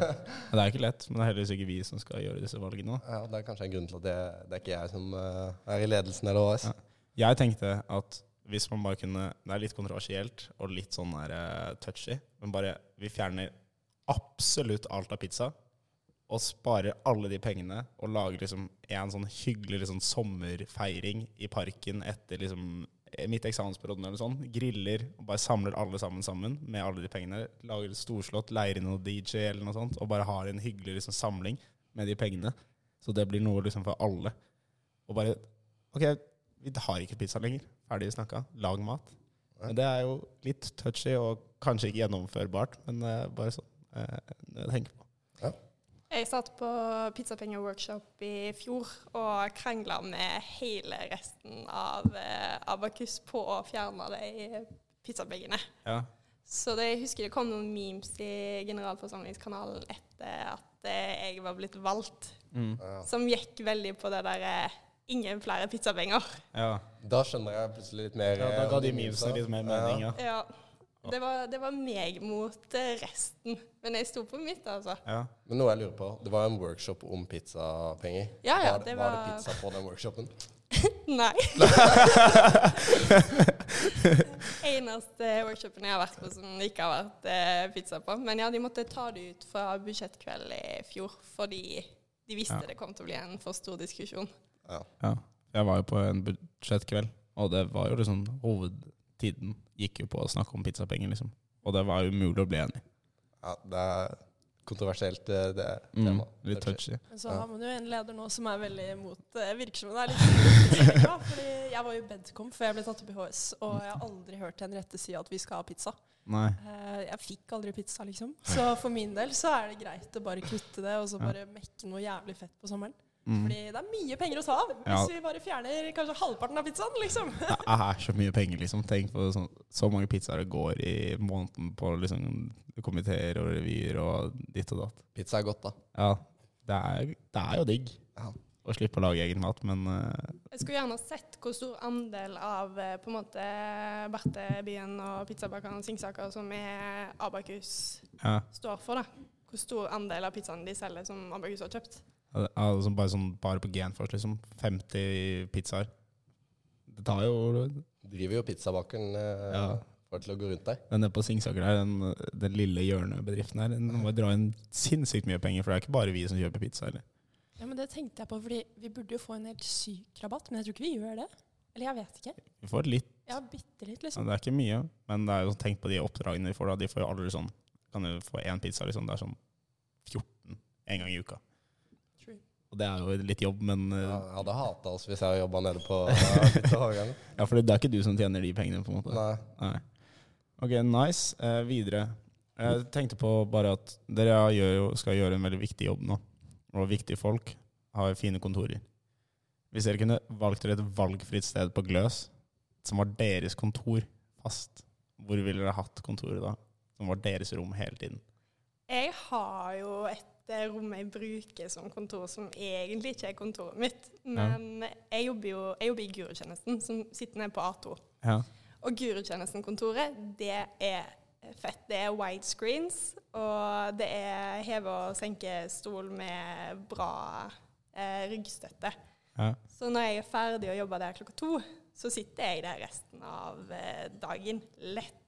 Speaker 3: Det er jo ikke lett, men det er heldigvis ikke vi som skal gjøre disse valgene. da.
Speaker 4: <laughs> Ja, det er kanskje en grunn til at det, det er ikke jeg som eh, er i ledelsen eller AS.
Speaker 3: Ja. Jeg tenkte at hvis man bare kunne Det er litt kontroversielt og litt sånn der, eh, touchy, men bare vi fjerner absolutt alt av pizza. Og sparer alle de pengene og lager liksom en sånn hyggelig liksom sommerfeiring i parken etter liksom eh, midt i eksamensperioden eller sånn. Griller og bare samler alle sammen sammen med alle de pengene. Lager et storslått, leier inn noe DJ eller noe sånt og bare har en hyggelig liksom samling med de pengene. Så det blir noe liksom for alle. Og bare OK, vi har ikke pizza lenger. Ferdig snakka. Lag mat. Men det er jo litt touchy og kanskje ikke gjennomførbart, men eh, bare sånn eh, jeg tenker på.
Speaker 5: Jeg satt på pizzapenger-workshop i fjor og krangla med hele resten av eh, Abakus på å fjerne de pizzapengene.
Speaker 3: Ja.
Speaker 5: Så det, jeg husker det kom noen memes i generalforsamlingskanalen etter at eh, jeg var blitt valgt,
Speaker 3: Mm.
Speaker 4: Ja.
Speaker 5: som gikk veldig på det derre Ingen flere pizzapenger.
Speaker 3: ja.
Speaker 4: Da skjønner jeg plutselig litt mer.
Speaker 3: da
Speaker 4: eh,
Speaker 3: ga
Speaker 4: hva
Speaker 3: de
Speaker 4: memes
Speaker 3: memesene
Speaker 4: er.
Speaker 3: litt mer mening, ja.
Speaker 5: Ja. Det var, det var meg mot eh, resten. Men jeg sto på mitt, altså.
Speaker 3: ja. <laughs>
Speaker 4: Men noe jeg lurer på. Det var en workshop om pizzapenger.
Speaker 5: Ja, ja,
Speaker 4: var,
Speaker 5: det
Speaker 4: var
Speaker 5: var-
Speaker 4: det pizza på den workshopen?
Speaker 5: Nei. <laughs> Eneste workshopen jeg har vært på som det ikke har vært eh, pizza på. Men ja, de måtte ta det ut fra budsjettkveld i fjor fordi de visste
Speaker 3: Ja.
Speaker 5: det kom til å bli en for stor diskusjon.
Speaker 4: Ja.
Speaker 3: ja. Jeg var jo på en budsjettkveld, og det var jo liksom hovedtiden gikk jo på å snakke om pizzapenger, liksom. Og det var jo umulig å bli enig.
Speaker 4: ja det er kontroversielt eh, det er
Speaker 3: Mm,
Speaker 4: tema.
Speaker 3: litt touchy.
Speaker 6: Men så
Speaker 4: Ja.
Speaker 6: har man jo en leder nå som er veldig imot eh, virker som hun er litt irritert, da, Fordi jeg var jo i Bedcom før jeg ble tatt opp i HS, og jeg har aldri hørt en rette si at vi skal ha pizza.
Speaker 3: Nei.
Speaker 6: Eh, Jeg fikk aldri pizza, liksom. Så for min del så er det greit å bare kutte det, og så bare mekke noe jævlig fett på sommeren.
Speaker 3: Mm.
Speaker 6: Fordi det er mye penger å ta av hvis
Speaker 3: Ja.
Speaker 6: vi bare fjerner kanskje halvparten av pizzaen, liksom. <laughs>
Speaker 3: Det er så mye penger, liksom. Tenk på sånn, så mange pizzaer det går i måneden på liksom, komiteer og revyer og ditt og datt.
Speaker 4: Pizza er godt, da.
Speaker 3: Ja, det er, det er jo digg
Speaker 4: Ja.
Speaker 3: å slippe å lage egen mat, men eh,
Speaker 5: Jeg skulle gjerne sett hvor stor andel av eh, på en måte Bertebyen og pizzabakeren og Singsaker som er Abakus
Speaker 3: ja.
Speaker 5: står for. da. Hvor stor andel av pizzaen de selger som Abakus har kjøpt.
Speaker 3: Ja, det er liksom bare, sånn, bare på Genfors, liksom. 50 pizzaer. Det tar jo
Speaker 4: Driver jo pizzabakeren eh,
Speaker 3: Ja.
Speaker 4: for til å gå rundt deg.
Speaker 3: Den nede på Singsaker her, den, den lille hjørnebedriften her, den må dra inn sinnssykt mye penger, for det er ikke bare vi som kjøper pizza. Eller?
Speaker 6: Ja, men det tenkte jeg på, fordi vi burde jo få en helt syk rabatt, men jeg tror ikke vi gjør det. Eller jeg vet ikke.
Speaker 3: Vi får litt,
Speaker 6: Jeg har bitte litt,
Speaker 3: ja,
Speaker 6: liksom.
Speaker 3: det er ikke mye, men det er jo sånn, tenk på de oppdragene vi får, da. De får jo aldri sånn Kan jo få én pizza, liksom. Det er sånn 14 en gang i uka.
Speaker 6: True.
Speaker 3: Og det er jo litt jobb, men eh,
Speaker 4: Ja, jeg hadde hata oss hvis jeg jobba nede på eh, pizzahagen.
Speaker 3: <laughs> Ja, for det er ikke du som tjener de pengene, på en måte.
Speaker 4: Nei.
Speaker 3: Nei. Ok, nice. Eh, videre. Jeg tenkte på bare at dere gjør jo, skal gjøre en veldig viktig jobb nå. Og viktige folk har fine kontorer. Hvis dere kunne valgt dere et valgfritt sted på Gløs, som var deres kontor fast, hvor ville dere hatt kontoret da? Som var deres rom hele tiden.
Speaker 5: Jeg har jo et eh, rom jeg bruker som kontor, som egentlig ikke er kontoret mitt. Men jeg jobber jo jeg jobber i Gurutjenesten, som sitter nede på A2.
Speaker 3: Ja.
Speaker 5: Og Gurutjenesten-kontoret, det er fett. Det er widescreens, og det er heve- og senkestol med bra eh, ryggstøtte.
Speaker 3: Ja.
Speaker 5: Så når jeg er ferdig å jobbe der klokka to, så sitter jeg der resten av eh, dagen. Lett.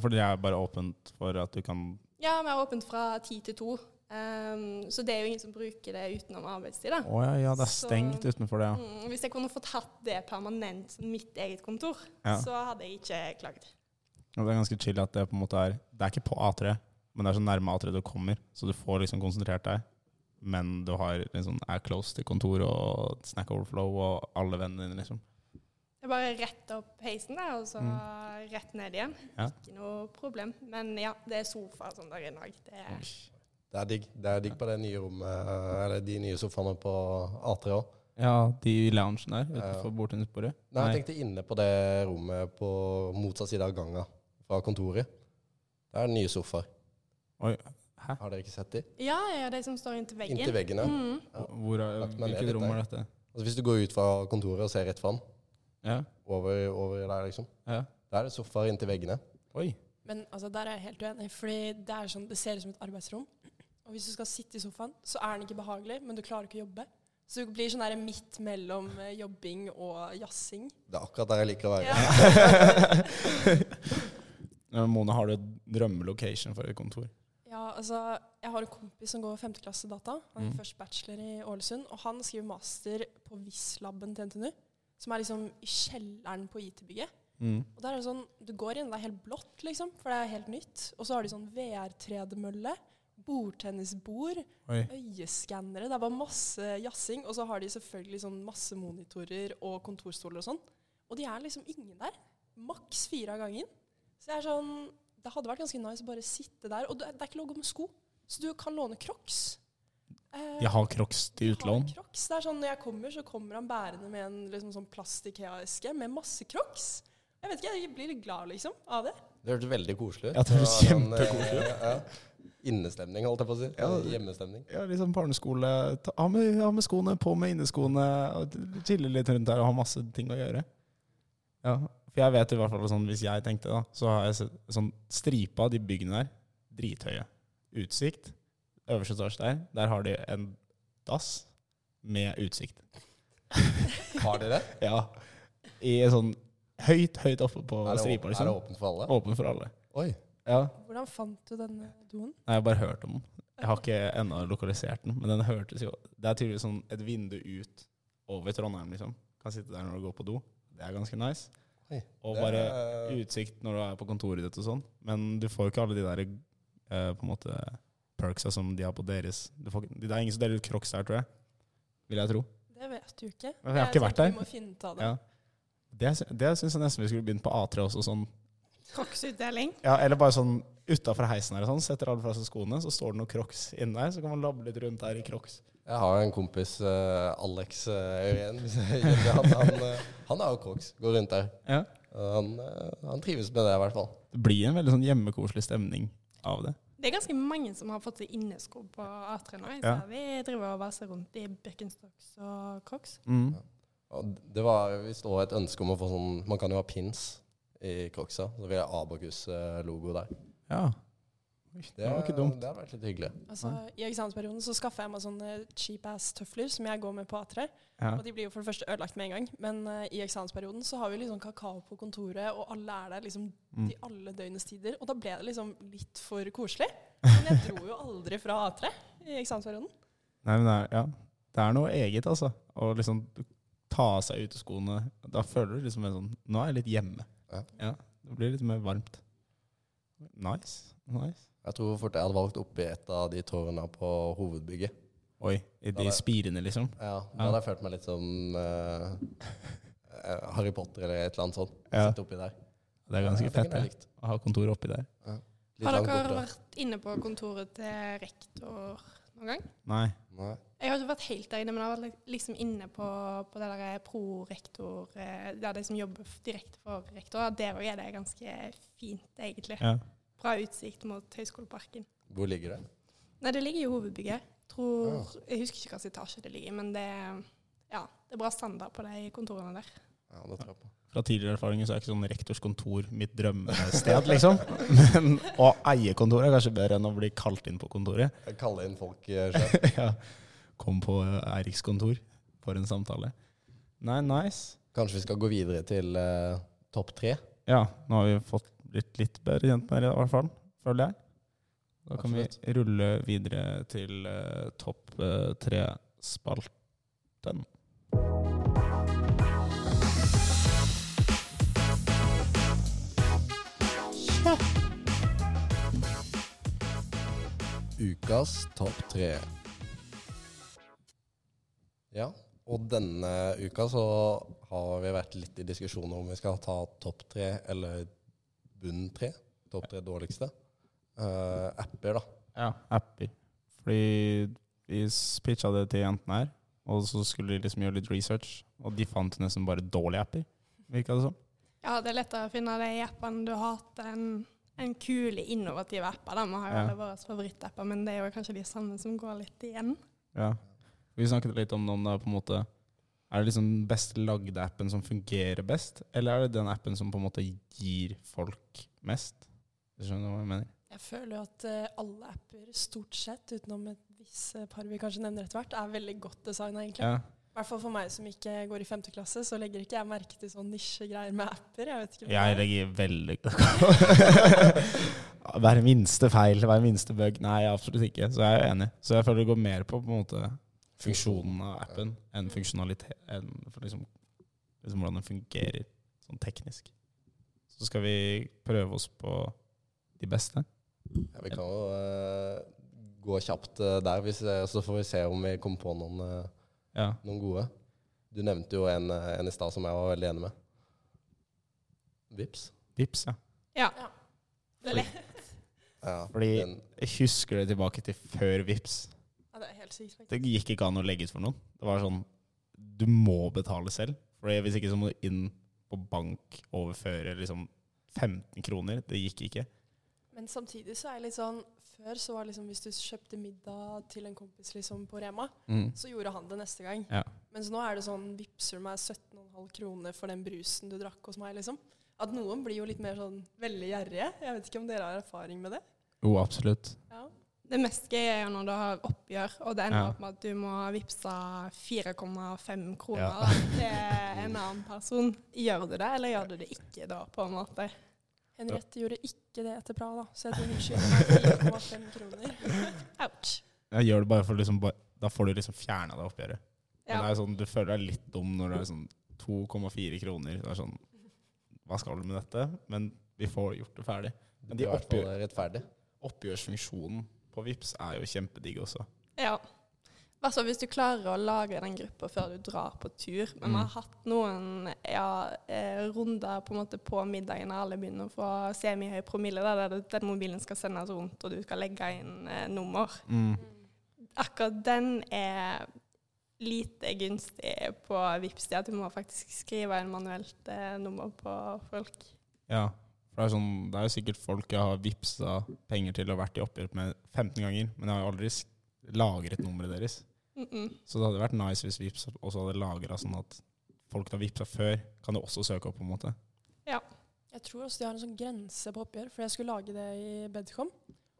Speaker 3: for det er bare åpent for at du kan
Speaker 5: Ja, vi har åpent fra ti til to. Ehm, så det er jo ingen som bruker det utenom arbeidstid. da.
Speaker 3: Å ja, ja, det er
Speaker 5: Så-
Speaker 3: stengt utenfor det, ja.
Speaker 5: Mm, hvis jeg kunne fått hatt det permanent som mitt eget kontor,
Speaker 3: Ja.
Speaker 5: så hadde jeg ikke klagd.
Speaker 3: Og det er ganske chill at det på en måte er Det er ikke på A3, men det er så nærme A3 du kommer, så du får liksom konsentrert deg. Men du har liksom, er close til kontor og Snack Overflow og alle vennene dine, liksom.
Speaker 5: Det er bare rett opp heisen der, og
Speaker 4: Mm.
Speaker 5: så rett ned igjen.
Speaker 3: Ja.
Speaker 5: Ikke noe problem. Men ja, det er sofa som der i dag. Det er,
Speaker 4: Det er digg Det er digg på det nye rommet, eh, eller de nye sofaene på A3 òg.
Speaker 3: Ja, de i loungen der
Speaker 4: utenfor
Speaker 3: utenfor bordtennisbordet.
Speaker 4: Nei, jeg tenkte inne på det rommet på motsatt side av ganga fra kontoret. Der er det nye sofaer.
Speaker 3: Oi, hæ?
Speaker 4: Har dere ikke sett de?
Speaker 5: ja, ja, de som står inntil veggen.
Speaker 4: Inntil veggene.
Speaker 5: Mm.
Speaker 3: Hvor er,
Speaker 4: Lagt meg ned
Speaker 3: hvilket
Speaker 4: litt
Speaker 3: rom
Speaker 4: der.
Speaker 3: er dette?
Speaker 4: Altså, hvis du går ut fra kontoret og ser rett fram,
Speaker 3: Ja,
Speaker 4: over, over der, liksom.
Speaker 3: ja.
Speaker 4: Der er det sofaer inntil veggene.
Speaker 3: Oi.
Speaker 6: Men altså, der er jeg helt uenig, fordi det, er sånn, det ser ut som et arbeidsrom. Og hvis du skal sitte i sofaen, så er den ikke behagelig, men du klarer ikke å jobbe. Så du blir sånn der midt mellom eh, jobbing og jazzing.
Speaker 4: Det er akkurat der jeg liker å være.
Speaker 3: <laughs> Ja, Mona, har du et drømmelocation for et kontor?
Speaker 6: Ja, altså, jeg har en kompis som går femteklasse data. Han er først bachelor i Ålesund, og han skriver master på VIS-labben til NTNU, som er liksom i kjelleren på IT-bygget.
Speaker 3: Mm.
Speaker 6: Og der er det sånn, du går inn, det er helt blått, liksom, for det er helt nytt. Og så har de sånn VR-tredemølle, bordtennisbord,
Speaker 3: Oi.
Speaker 6: øyeskannere. Det er bare masse jazzing. Og så har de selvfølgelig sånn masse monitorer og kontorstoler og sånn. Og de er liksom ingen der. Maks fire av gangen. Så jeg er sånn Det hadde vært ganske nice å bare sitte der. Og det er det er ikke lov å gå med sko, så du kan låne Crocs. Eh,
Speaker 3: Jeg har Crocs til utlån.
Speaker 6: har Crocs. Det er sånn, når jeg kommer, så kommer han bærende med en liksom, sånn plast-Ikea-eske med masse Crocs. Jeg vet ikke, jeg blir litt glad liksom, av det.
Speaker 4: Det hørtes veldig koselig ut.
Speaker 3: Ja, det hørtes
Speaker 4: var en,
Speaker 3: kjempekoselig
Speaker 4: eh, ja. Innestemning, holdt jeg på å si.
Speaker 3: Ja.
Speaker 4: Hjemmestemning.
Speaker 3: Ja, liksom barneskole. Ta, ha, med, ha med skoene, på med inneskoene. og Chille litt rundt der og ha masse ting å gjøre. Ja, for jeg vet i hvert fall sånn, Hvis jeg tenkte, da, så har jeg sett sånn stripa av de byggene der. Drithøye. Utsikt. Øverste etasje der, der har de en dass med utsikt.
Speaker 4: Har de det?
Speaker 3: Ja. I en sånn høyt, høyt oppe på
Speaker 4: Er det, åp-
Speaker 3: stripa.
Speaker 4: er det
Speaker 3: Liksom.
Speaker 4: åpent for alle?
Speaker 3: Åpen for alle.
Speaker 4: Oi.
Speaker 3: Ja.
Speaker 6: Hvordan fant du denne doen?
Speaker 3: Nei, jeg har bare hørt om den. Jeg har ikke ennå lokalisert den, men den hørtes jo Det er tydeligvis sånn et vindu ut over Trondheim, liksom. Kan sitte der når du går på do. Det er ganske nice.
Speaker 4: Oi.
Speaker 3: Og
Speaker 4: Det
Speaker 3: bare
Speaker 4: er-
Speaker 3: utsikt når du er på kontoret ditt og sånn. Men du får jo ikke alle de der eh, på en måte perksa som de har på deres. Du får, ikke- det er ingen som deler ut crocs der, tror jeg. Vil jeg tro.
Speaker 6: Det vet du ikke.
Speaker 3: Jeg har ikke vært der.
Speaker 6: tenker Vi må finne ut av det.
Speaker 3: Ja. Det, sy- det syns jeg nesten vi skulle begynt på A3 også. sånn.
Speaker 5: Crocs-utdeling.
Speaker 3: Ja, Eller bare sånn utafor heisen her og sånn, setter alle fra seg skoene, så står det noen crocs inni der, så kan man labbe litt rundt der i crocs.
Speaker 4: Jeg har en kompis, eh, Alex eh, Øyen. hvis jeg gir det. <laughs> han, han, eh, han har jo crocs, går rundt der.
Speaker 3: Ja.
Speaker 4: Og Han, eh, han trives med det, i hvert fall.
Speaker 3: Det blir en veldig sånn hjemmekoselig stemning av det.
Speaker 5: Det er ganske mange som har fått seg innesko på A3 nå. Jeg
Speaker 3: Ja.
Speaker 5: ser Vi driver og vaser rundt i Birkenstocks og Crocs.
Speaker 3: Mm.
Speaker 4: Og det var visst òg et ønske om å få sånn Man kan jo ha pins i crocsa. Så vil jeg ha Abakus-logo der.
Speaker 3: Ja. Oi, Det var ikke dumt.
Speaker 4: Det hadde vært litt hyggelig.
Speaker 6: Altså, I eksamensperioden så skaffa jeg meg sånne cheap ass tøfler som jeg går med på A3.
Speaker 3: Ja.
Speaker 6: Og de blir jo for det første ødelagt med en gang. Men eh, i eksamensperioden så har vi liksom kakao på kontoret, og alle er der liksom
Speaker 3: Mm.
Speaker 6: til alle døgnets tider. Og da ble det liksom litt for
Speaker 3: <laughs>
Speaker 6: koselig. Men jeg dro jo aldri fra A3 i eksamensperioden.
Speaker 3: Nei, men det er, ja. det er noe eget, altså. Å liksom ta av seg uteskoene. Da føler du liksom en sånn Nå er jeg litt hjemme.
Speaker 4: Ja.
Speaker 3: Det blir litt mer varmt. Nice. nice.
Speaker 4: Jeg tror fort jeg hadde valgt oppi et av de tårna på hovedbygget.
Speaker 3: Oi, i
Speaker 4: Ja,
Speaker 3: de
Speaker 4: det-
Speaker 3: spirene, liksom.
Speaker 4: Ja, Da
Speaker 3: Ja.
Speaker 4: hadde jeg følt meg litt som eh, eh, Harry Potter eller et eller annet sånt.
Speaker 3: Ja.
Speaker 4: Sitte oppi der.
Speaker 3: Det er
Speaker 4: Ja,
Speaker 3: ganske
Speaker 4: jeg
Speaker 3: fett
Speaker 4: tenker det er
Speaker 3: det,
Speaker 4: likt.
Speaker 3: å ha kontoret oppi der.
Speaker 4: Litt
Speaker 5: Har
Speaker 4: langt
Speaker 5: dere
Speaker 4: borte.
Speaker 5: vært inne på kontoret til rektor noen gang?
Speaker 3: Nei.
Speaker 4: Nei.
Speaker 5: Jeg har ikke vært helt der inne, men jeg har vært liksom inne på, på det der pro-rektor, eh, der de som jobber f- direkte for rektor. Der òg er det ganske fint, egentlig.
Speaker 3: Ja.
Speaker 5: Bra utsikt mot Høgskoleparken.
Speaker 4: Hvor ligger det?
Speaker 5: Nei, det ligger i hovedbygget. Tror,
Speaker 3: Ah.
Speaker 5: jeg husker ikke hvilken etasje det ligger i, men det, ja, det er bra standard på de kontorene der.
Speaker 4: Ja, det tror jeg på.
Speaker 3: Fra tidligere erfaringer så er ikke sånn rektors kontor mitt drømmested, liksom. Men å eie kontoret er kanskje bedre enn å bli kalt inn på kontoret.
Speaker 4: Jeg kaller inn folk eh, sjøl.
Speaker 3: ja. Kom på Eiriks kontor for en samtale. Nei, nice.
Speaker 4: Kanskje vi skal gå videre til eh, topp tre?
Speaker 3: Ja, nå har vi fått blitt litt bedre kjent med dere, i hvert fall. Føler jeg. Da kan vi rulle videre til eh, topp eh, tre-spalten.
Speaker 4: Ukas topp tre. Ja, og denne uka så har vi vært litt i diskusjon om vi skal ta topp tre eller bunn tre. Topp tre dårligste. Eh, apper, da.
Speaker 3: Ja, apper. Fordi vi s- pitcha det til jentene her, og så skulle de liksom gjøre litt research, og de fant nesten bare dårlige apper, virka det som.
Speaker 5: Ja, det er lettere å finne de appene du hater enn en kule, innovative apper. da. Vi har jo
Speaker 3: Ja.
Speaker 5: alle våre favorittapper, men det er jo kanskje de samme som går litt igjen.
Speaker 3: Ja. Vi snakket litt om det, om det er på en måte Er det liksom den best lagde appen som fungerer best, eller er det den appen som på en måte gir folk mest? Du skjønner hva jeg mener?
Speaker 6: Jeg føler jo at eh, alle apper stort sett, utenom et visst eh, par vi kanskje nevner etter hvert, er veldig godt designa, egentlig.
Speaker 3: Ja.
Speaker 6: I hvert fall for meg som ikke går i femte klasse, så legger ikke jeg merke til sånn nisjegreier med apper. Jeg vet ikke hva
Speaker 3: Jeg
Speaker 6: det er.
Speaker 3: legger veldig <laughs> Hver minste feil, hver minste bug. Nei, absolutt ikke. Så jeg er enig. Så jeg føler det går mer på, på en måte, funksjonen av appen enn funksjonalitet enn for liksom, liksom hvordan den fungerer sånn teknisk. Så skal vi prøve oss på de beste.
Speaker 4: Ja, vi kan jo eh, gå kjapt eh, der, hvis, eh, så får vi se om vi kommer på noen, eh,
Speaker 3: Ja.
Speaker 4: noen gode. Du nevnte jo en, eh, en i stad som jeg var veldig enig med. Vips.
Speaker 3: Vips, ja.
Speaker 5: Ja.
Speaker 6: Ja.
Speaker 5: Det er lett.
Speaker 4: Ja,
Speaker 3: Fordi-
Speaker 4: den,
Speaker 3: Jeg husker det tilbake til før Vips.
Speaker 6: Ja, det er helt sykt. faktisk.
Speaker 3: Det gikk ikke an å legge ut for noen. Det var sånn Du må betale selv. For hvis ikke så må du inn på bank, overføre liksom 15 kroner. Det gikk ikke.
Speaker 6: Men samtidig så er jeg litt sånn Før så var det liksom hvis du kjøpte middag til en kompis liksom på Rema,
Speaker 3: Mm.
Speaker 6: så gjorde han det neste gang.
Speaker 3: Ja.
Speaker 6: Mens nå er det sånn Vippser du meg 17,5 kroner for den brusen du drakk hos meg, liksom? At noen blir jo litt mer sånn veldig gjerrige. Jeg vet ikke om dere har erfaring med det?
Speaker 3: Jo, absolutt.
Speaker 6: Ja.
Speaker 5: Det mest gøy er jo når du har oppgjør, og det ender
Speaker 3: Ja.
Speaker 5: opp med at du må vippse 4,5 kroner
Speaker 3: Ja.
Speaker 5: da, til en annen person. Gjør du det, eller gjør du det ikke da, på en måte?
Speaker 6: Henriette gjorde ikke det etter Praha, da, så jeg tror hun skylder meg 4,5 kroner.
Speaker 5: Ouch.
Speaker 3: Jeg gjør det bare for liksom ba- Da får du liksom fjerna det oppgjøret. Men
Speaker 5: Ja.
Speaker 3: det er sånn, du føler deg litt dum når det er sånn 2,4 kroner. Det er sånn Hva skal du med dette? Men vi får gjort det ferdig. Men
Speaker 4: det
Speaker 3: de
Speaker 4: er i hvert fall
Speaker 3: oppgjør,
Speaker 4: rettferdig.
Speaker 3: oppgjørsfunksjonen på Vips er jo kjempedigg også.
Speaker 5: Ja. Hvert fall hvis du klarer å lage den gruppa før du drar på tur. Men vi
Speaker 3: Mm.
Speaker 5: har hatt noen ja, eh, runder på, en måte på middagen der alle begynner å få semihøy promille, da, der, det- den mobilen skal sendes rundt og du skal legge inn eh, nummer.
Speaker 3: Mm.
Speaker 5: Akkurat den er lite gunstig på Vipps, det at du må faktisk skrive inn manuelt eh, nummer på folk.
Speaker 3: Ja. For det er, sånn, det er jo sikkert folk jeg har vippsa penger til og vært i oppgjør med 15 ganger, men jeg har jo aldri s- lagret nummeret deres.
Speaker 5: Mm -mm.
Speaker 3: Så det hadde vært nice hvis Vipps også hadde lagra sånn at folk som har vippsa før, kan jo også søke opp, på en måte.
Speaker 6: Jeg tror også de har en sånn grense på oppgjør, for jeg skulle lage det i Bedcom.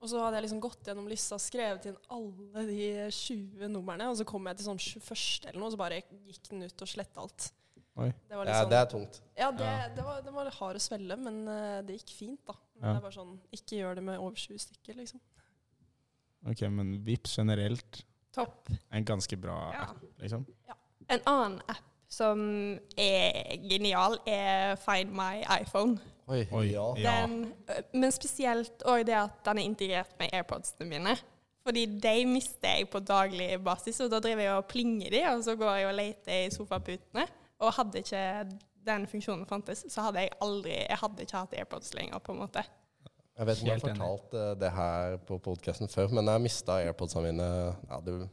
Speaker 6: Og så hadde jeg liksom gått gjennom lista, skrevet inn alle de 20 numrene, og så kom jeg til sånn 21. eller noe, og så bare gikk den ut og sletta alt.
Speaker 3: Oi.
Speaker 6: Det var
Speaker 4: Ja,
Speaker 6: liksom,
Speaker 4: det er tungt.
Speaker 6: ja, det,
Speaker 3: Ja.
Speaker 6: det, var, det var hard å svelge, men eh, det gikk fint, da. Men
Speaker 3: Ja.
Speaker 6: Det er bare sånn, ikke gjør det med over 20 stykker, liksom.
Speaker 3: Ok, men Vipps generelt
Speaker 5: Topp.
Speaker 3: er en ganske bra
Speaker 5: Ja.
Speaker 3: app, liksom.
Speaker 5: En annen app som er genial, er Find my iPhone.
Speaker 4: Oi,
Speaker 3: Oi.
Speaker 4: ja.
Speaker 3: Ja.
Speaker 5: Den, øh, men spesielt òg det at den er integrert med AirPodsene mine. Fordi de mister jeg på daglig basis, og da driver jeg og plinger de, og så går jeg og leter i sofaputene. Og hadde ikke den funksjonen fantes, så hadde jeg aldri Jeg hadde ikke hatt AirPods lenger, på en måte.
Speaker 4: Jeg vet ikke om jeg
Speaker 3: Helt
Speaker 4: har
Speaker 3: enig.
Speaker 4: fortalt eh, det her på podcasten før, men jeg mista AirPodsene mine ja, det,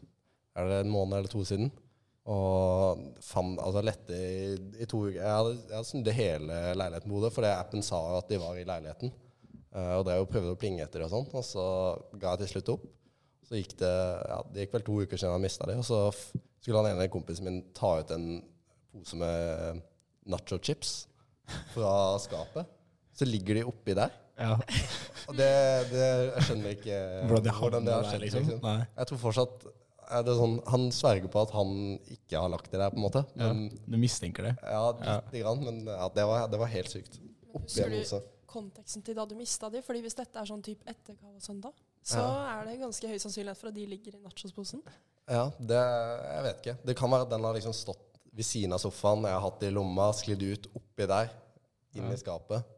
Speaker 4: er det en måned eller to siden. Og fant, altså lette i, i to uker Jeg hadde, jeg hadde snudd hele leiligheten på hodet, fordi appen sa at de var i leiligheten. Eh, og drev og prøvde å plinge etter det og sånn, og så ga jeg til slutt opp. Så gikk det ja, det gikk vel to uker siden jeg mista de, og så f skulle han ene kompisen min ta ut en pose med eh, nacho chips fra skapet. Så ligger de oppi der.
Speaker 3: Ja.
Speaker 4: Og det, det jeg skjønner ikke
Speaker 3: Hvordan det havner
Speaker 4: hvordan det har
Speaker 3: der,
Speaker 4: skjedd.
Speaker 3: liksom.
Speaker 4: Liksom.
Speaker 3: Nei.
Speaker 4: Jeg tror fortsatt er det sånn, Han sverger på at han ikke har lagt det der, på en måte. Men,
Speaker 3: Du mistenker det.
Speaker 4: ja, lite grann, men ja, det, var, det var helt sykt. Oppi
Speaker 6: Husker
Speaker 4: en
Speaker 6: du
Speaker 4: hose.
Speaker 6: konteksten til da du mista de? Fordi hvis dette er sånn type etter Kava-søndag, så er det ganske høy sannsynlighet for at de ligger i nachosposen.
Speaker 4: Ja, det, jeg vet ikke. Det kan være at den har liksom stått ved siden av sofaen, jeg har hatt det i lomma, sklidd ut oppi der, inn i skapet.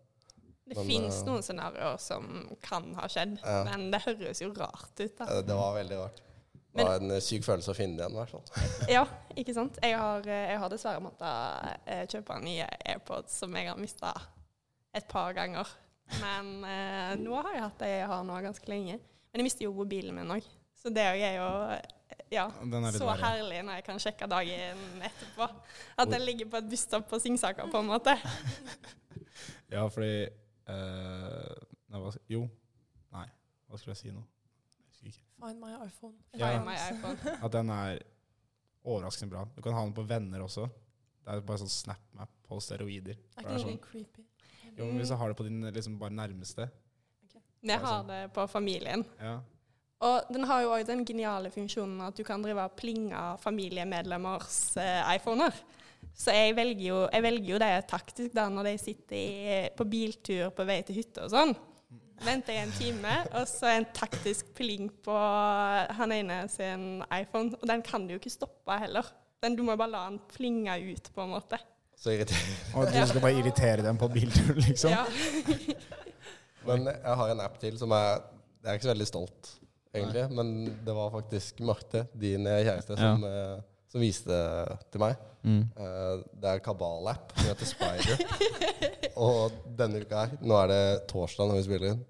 Speaker 5: Det
Speaker 4: Men,
Speaker 5: fins
Speaker 4: eh,
Speaker 5: noen scenarioer som kan ha skjedd,
Speaker 4: Ja.
Speaker 5: men det høres jo rart ut. da.
Speaker 4: Eh, Det var veldig rart. Det var en eh, syk følelse å finne det igjen, i hvert fall.
Speaker 5: Ja, ikke sant? Jeg har, eh, jeg har dessverre måttet eh, kjøpe nye AirPods som jeg har mista et par ganger. Men eh, nå har jeg hatt det jeg har nå ganske lenge. Men jeg mister jo mobilen min òg. Så det er jo eh, ja,
Speaker 3: Den er litt
Speaker 5: så
Speaker 3: verre.
Speaker 5: herlig når jeg kan sjekke dagen etterpå. At den ligger på et busstopp på Singsaker, på en måte.
Speaker 3: Ja, fordi eh, nei, hva, Jo. Nei, hva skulle jeg si nå? Jeg husker ikke.
Speaker 6: Find my iPhone.
Speaker 3: Ja.
Speaker 5: Find my iPhone.
Speaker 3: At den er overraskende bra. Du kan ha den på venner også. Det er bare sånn SnapMap på steroider.
Speaker 6: Er
Speaker 3: Det er
Speaker 6: ikke det
Speaker 3: sånn,
Speaker 6: litt creepy?
Speaker 3: jo, men Hvis du har det på din liksom, bare nærmeste
Speaker 5: Vi
Speaker 3: sånn.
Speaker 5: har det på familien.
Speaker 3: ja.
Speaker 5: Og den har jo òg den geniale funksjonen at du kan drive og plinge familiemedlemmers eh, iPhoner. Så jeg velger, jo, jeg velger jo det taktisk da når de sitter i, på biltur på vei til hytta og sånn. Venter jeg en time, og så en taktisk pling på han ene sin iPhone. Og den kan du jo ikke stoppe heller. Den, du må bare la den plinge ut, på en måte.
Speaker 4: Så irriterende.
Speaker 3: Og du skal bare irritere dem på bilturen, liksom?
Speaker 5: Ja.
Speaker 4: Men jeg har en app til som er Jeg er ikke så veldig stolt, egentlig. Men det var faktisk Marte, din eh, kjæreste, som, eh, som viste det til meg. Eh, det er Kabal-app som heter Spider. <laughs> og denne uka her Nå er det torsdag når vi spiller inn.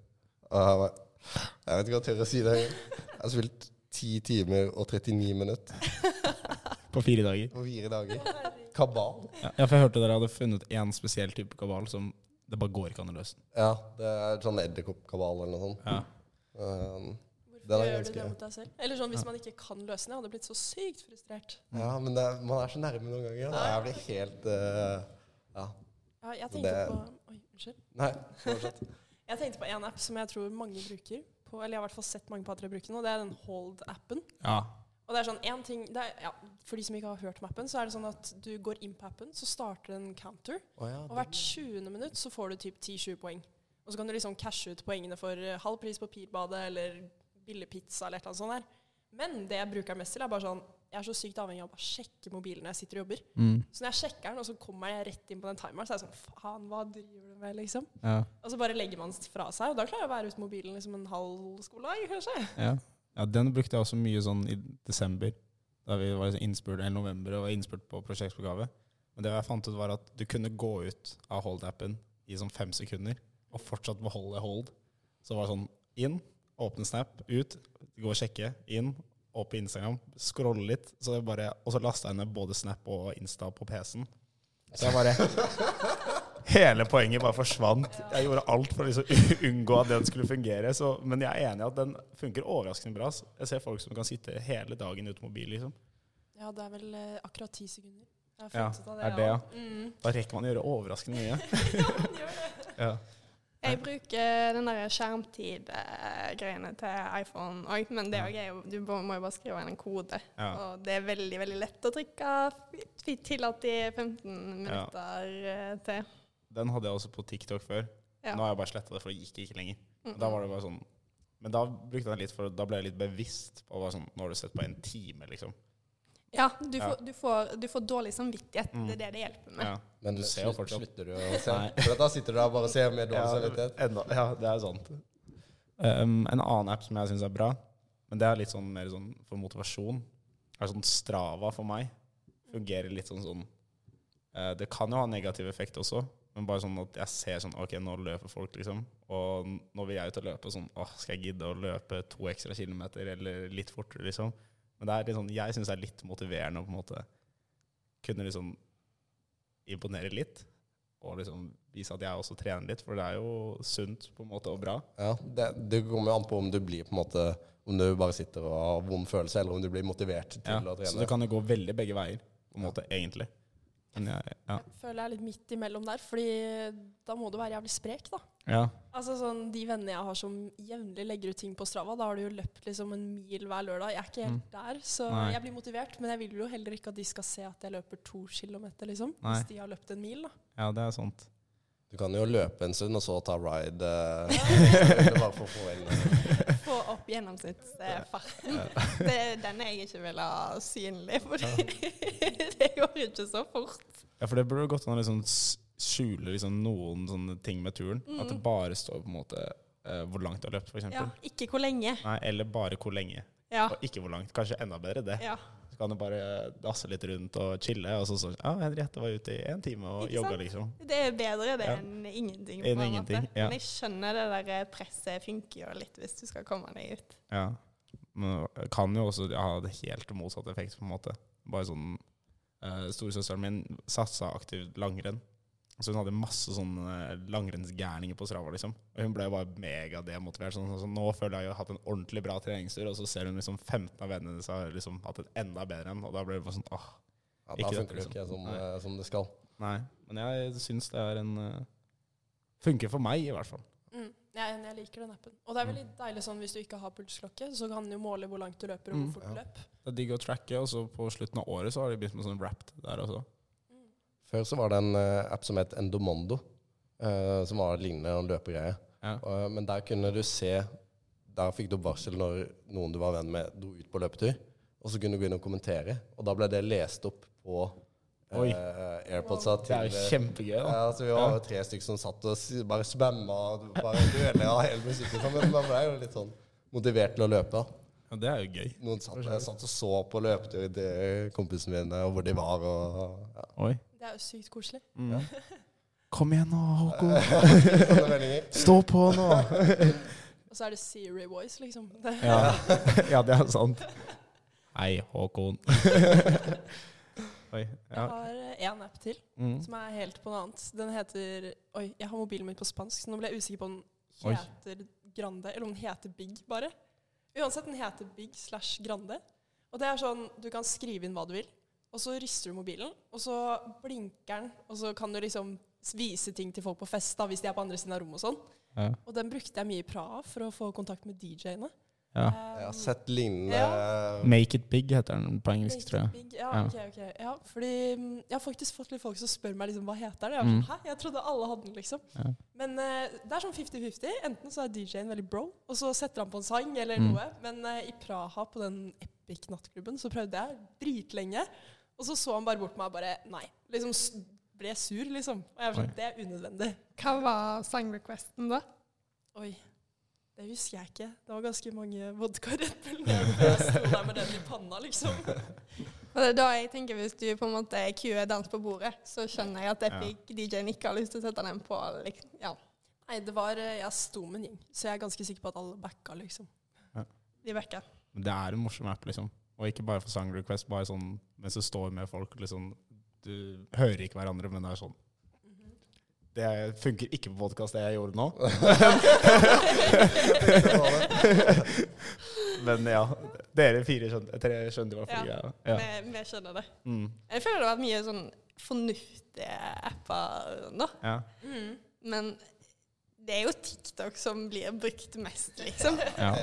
Speaker 4: Og jeg, bare, jeg vet ikke om jeg tør å si det. Jeg har spilt 10 timer og 39 minutter
Speaker 3: På fire dager.
Speaker 4: på fire dager. Kabal.
Speaker 3: Ja, for jeg hørte dere hadde funnet én spesiell type kabal som det bare går ikke an å løse.
Speaker 4: Ja, det er sånn edderkoppkabal eller noe sånt.
Speaker 3: Ja.
Speaker 4: Eh, Den er
Speaker 6: Hvorfor gjør du
Speaker 4: ganske-
Speaker 6: det mot deg selv? Eller sånn hvis man ikke kan løse den. Jeg hadde blitt så sykt frustrert.
Speaker 4: Ja, men det, er- man er så nærme noen ganger. Da. Jeg blir helt eh, Ja.
Speaker 6: Ja, jeg
Speaker 4: Det-
Speaker 6: tenkte på Oi, unnskyld.
Speaker 4: Nei, fortsett.
Speaker 6: Jeg tenkte på en app som jeg tror mange bruker. På, eller jeg har i hvert fall sett mange på at dere bruker den, og det er den Hold-appen.
Speaker 3: ja.
Speaker 6: Og det er sånn en ting, det er, ja, For de som ikke har hørt om appen, så er det sånn at du går inn på appen, så starter en counter,
Speaker 4: Å ja,
Speaker 6: og hvert 20. minutt så får du typ 10-20 poeng. Og så kan du liksom cashe ut poengene for eh, halv pris på Pirbadet eller billig pizza eller et eller annet sånt der. Men det jeg bruker mest til, er bare sånn jeg er så sykt avhengig av å bare sjekke mobilen når jeg sitter og jobber.
Speaker 3: Mm.
Speaker 6: Så når jeg sjekker den, og så kommer jeg rett inn på den timeren, så er jeg sånn Faen, hva driver du med, liksom?
Speaker 3: Ja.
Speaker 6: Og så bare legger man den fra seg, og da klarer jeg å være uten mobilen liksom en halv skoledag, kanskje.
Speaker 3: Ja. ja, den brukte jeg også mye sånn i desember. Da vi var liksom innspurt, eller november og var innspurt på prosjektoppgave. Men det jeg fant ut, var at du kunne gå ut av hold-appen i sånn fem sekunder og fortsatt beholde hold. Så det var sånn inn, åpne Snap, ut, gå og sjekke, inn, opp på Instagram, scrolle litt. Så det bare, og så lasta jeg ned både Snap og Insta på PC-en. Så jeg bare Hele poenget bare forsvant. Jeg gjorde alt for å liksom <laughs> unngå at den skulle fungere. Så, men jeg er enig i at den funker overraskende bra. ass. Jeg ser folk som kan sitte hele dagen uten mobil. liksom.
Speaker 6: Ja, det er vel eh, akkurat ti sekunder. Jeg har
Speaker 3: Ja,
Speaker 6: funnet ut av
Speaker 3: er det, ja.
Speaker 6: ja. Mm.
Speaker 3: Da rekker man å gjøre overraskende <laughs> mye. <laughs> ja.
Speaker 5: Jeg bruker den der skjermtid-greiene til iPhone òg, men det
Speaker 3: Ja.
Speaker 5: òg er jo Du må må jo bare skrive inn en kode.
Speaker 3: Ja.
Speaker 5: Og det er veldig, veldig lett å trykke f- f- tillatt i 15 minutter eh, til.
Speaker 3: Den hadde jeg også på TikTok før.
Speaker 5: Ja.
Speaker 3: Nå har jeg bare sletta det, for det gikk ikke lenger.
Speaker 5: Mm.
Speaker 3: Da var det bare sånn Men da brukte jeg den litt, for da ble jeg litt bevisst på hva sånn Nå har du sett på en time, liksom.
Speaker 5: Ja, du
Speaker 3: Ja.
Speaker 5: får, du, får, du får dårlig samvittighet.
Speaker 3: Mm.
Speaker 5: Det er det det hjelper med.
Speaker 3: Ja.
Speaker 4: Men
Speaker 3: Du ser jo
Speaker 4: slutt-
Speaker 3: fortsatt.
Speaker 4: slutter du å se?
Speaker 3: Nei.
Speaker 4: For da sitter du der bare og ser med dårlig
Speaker 3: Ja,
Speaker 4: samvittighet.
Speaker 3: enda, ja, det er sant. Um, en annen app som jeg syns er bra, men det er litt sånn mer sånn for motivasjon, er sånn Strava for meg. Fungerer litt sånn sånn eh, Det kan jo ha negativ effekt også, men bare sånn at jeg ser sånn Ok, nå løper folk, liksom. Og n- nå vil jeg ut og løpe sånn Åh, skal jeg gidde å løpe to ekstra kilometer, eller litt fortere, liksom? Men det er litt sånn, jeg syns det er litt motiverende å på en måte kunne liksom imponere litt og liksom vise at jeg også trener litt, for det er jo sunt på en måte og bra.
Speaker 4: Ja, det, det kommer jo an på om du blir på en måte Om du bare sitter og har vond følelse, eller om du blir motivert til å trene.
Speaker 3: Så det kan jo gå veldig begge veier, på en måte, egentlig. Men jeg, ja.
Speaker 6: Jeg føler jeg er litt midt imellom der, fordi eh, da må du være jævlig sprek, da.
Speaker 3: ja.
Speaker 6: Altså sånn, De vennene jeg har som jevnlig legger ut ting på Strava, da har du jo løpt liksom en mil hver lørdag. Jeg er ikke helt der, så
Speaker 3: Mm. Nei.
Speaker 6: jeg blir motivert. Men jeg vil jo heller ikke at de skal se at jeg løper to kilometer, liksom.
Speaker 3: Nei.
Speaker 6: Hvis de har løpt en mil, da.
Speaker 3: ja, det er sant.
Speaker 4: Du kan jo løpe en stund, og så ta ride. eh,
Speaker 3: <laughs>
Speaker 4: det er bare for å få inn
Speaker 5: Få opp gjennomsnittsfarten. <laughs> Det er den jeg ikke vil ha synlig, for <laughs> det går ikke så fort.
Speaker 3: Ja, for det burde gått an å liksom s- skjule liksom noen sånne ting med turen. At det bare står på en måte eh, hvor langt du har løpt, f.eks.
Speaker 5: Ja,
Speaker 3: eksempel
Speaker 5: ikke hvor lenge.
Speaker 3: Nei, eller bare hvor lenge,
Speaker 5: Ja.
Speaker 3: og ikke hvor langt. Kanskje enda bedre det.
Speaker 5: ja.
Speaker 3: Så kan du bare dasse litt rundt og chille, og så sånn Ja, Henriette var ute i én time og
Speaker 5: Ikke
Speaker 3: jogga,
Speaker 5: sant?
Speaker 3: liksom.
Speaker 5: Det er bedre det
Speaker 3: Ja.
Speaker 5: enn ingenting.
Speaker 3: Enn
Speaker 5: på en
Speaker 3: ingenting,
Speaker 5: måte.
Speaker 3: ja.
Speaker 5: Men jeg skjønner det der presset funker jo litt hvis du skal komme deg ut.
Speaker 3: Ja. Men det kan jo også ha det helt motsatt effekt, på en måte. Bare sånn eh, Storesøsteren min satsa aktivt langrenn. Så hun hadde masse sånne eh, langrennsgærninger på Strava, liksom. Og hun ble jo bare megademotivert. Sånn, sånn, sånn, nå føler jeg jo hatt en ordentlig bra treningstur, og så ser hun liksom 15 av vennene hennes har liksom hatt en enda bedre en, og da ble det bare sånn åh,
Speaker 4: ja, Da
Speaker 3: Ikke dette,
Speaker 4: funker det jo ikke
Speaker 3: liksom.
Speaker 4: som,
Speaker 3: Nei.
Speaker 4: eh, som det skal.
Speaker 3: nei. Men jeg syns det er en eh, Funker for meg, i hvert fall.
Speaker 6: Mm. Jeg, er enig, jeg liker den appen. Og det er veldig deilig sånn hvis du ikke har pulsklokke, så kan den jo måle hvor langt du løper og
Speaker 3: Mm.
Speaker 6: hvor fort du
Speaker 4: Ja.
Speaker 6: løp.
Speaker 3: Det er digg å tracke, og så på slutten av året så har de begynt med sånn wrapped der også.
Speaker 4: Før så var det en eh, app som het Endomondo, eh, som var lignende en løpegreie.
Speaker 3: Ja.
Speaker 4: Og, eh, men der kunne du se Der fikk du opp varsel når noen du var venn med, dro ut på løpetur. Og så kunne du gå inn og kommentere, og da ble det lest opp på uh,
Speaker 3: Oi.
Speaker 4: AirPodsa
Speaker 3: Det
Speaker 4: til
Speaker 3: er jo kjempegøy, da.
Speaker 4: Ja, altså, vi var jo tre stykker som satt og s- bare spamma og bare duella hele musikken sammen. Men man ble jo litt sånn motivert til å løpe. da.
Speaker 3: Ja, det er jo gøy.
Speaker 4: Noen satt, jeg satt og så på løpetur til kompisene mine, og hvor de var. og...
Speaker 3: <laughs>
Speaker 4: Ja.
Speaker 3: Oi.
Speaker 6: Det er jo sykt koselig.
Speaker 3: Mm. Kom igjen nå, Håkon.
Speaker 4: Sånne meldinger.
Speaker 3: Stå på nå!
Speaker 6: Og så er det Siri Voice, liksom. <laughs> Det,
Speaker 3: <laughs> Ja, det er sant. Hei, Håkon. <laughs> Oi. Ja.
Speaker 6: Jeg har eh, en app til
Speaker 3: Mm.
Speaker 6: som er helt på noe annet. Den heter Oi, jeg har mobilen min på spansk, så nå ble jeg usikker på om
Speaker 3: Oi.
Speaker 6: den heter Grande, eller om den heter Big, bare. Uansett, den heter Big slash Grande. Og det er sånn, du kan skrive inn hva du vil, og så rister du mobilen, og så blinker den, og så kan du liksom s- vise ting til folk på fest da, hvis de er på andre siden av rommet og sånn.
Speaker 3: Ja.
Speaker 6: Og den brukte jeg mye i Praha for å få kontakt med DJ-ene.
Speaker 3: Ja.
Speaker 4: Jeg har sett lignende
Speaker 6: Ja.
Speaker 3: Make it big heter den på engelsk, tror jeg.
Speaker 6: Big, ja,
Speaker 3: Ja.
Speaker 6: ok, ok. Ja, fordi mm, jeg har faktisk fått litt folk som spør meg liksom, hva heter det. Jeg, er sånn, Hæ? jeg trodde alle hadde den, liksom.
Speaker 3: Mm. Ja.
Speaker 6: Men eh, det er sånn 50-50. Enten så er DJ-en veldig bro, og så setter han på en sang eller
Speaker 3: Mm.
Speaker 6: noe. Men eh, i Praha, på den epic nattklubben, så prøvde jeg dritlenge. Og så så han bare bort på meg og bare nei. Liksom s- ble sur, liksom. Og jeg var sånn, det er unødvendig.
Speaker 5: Hva var sangrequesten, da?
Speaker 6: Oi. Det husker jeg ikke. Det var ganske mange vodkaer rett
Speaker 3: <laughs>
Speaker 6: mellom øynene før jeg sto der med den i panna, liksom.
Speaker 5: Og det er da jeg tenker Hvis du på en måte cuer dans på bordet, så skjønner jeg at Epic DJ-en ikke har lyst til å sette den på. Liksom. Ja,
Speaker 6: Nei, det var eh, Jeg sto med en gjeng, så jeg er ganske sikker på at alle backa, liksom.
Speaker 5: de vekker.
Speaker 3: Men det er en morsom app, liksom. Og ikke bare for sang request, bare sånn mens du står med folk. liksom, Du hører ikke hverandre, men det er sånn. Det funker ikke på podkast, det jeg gjorde nå. <laughs> men ja. Dere fire skjønte, tre skjønte i hvert fall
Speaker 5: Ja.
Speaker 3: greia. Ja.
Speaker 5: Vi, vi skjønner det.
Speaker 3: Mm.
Speaker 5: Jeg føler det har vært mye sånn fornuftige apper nå,
Speaker 3: ja.
Speaker 5: men det er jo TikTok som blir brukt mest, liksom.
Speaker 3: ja.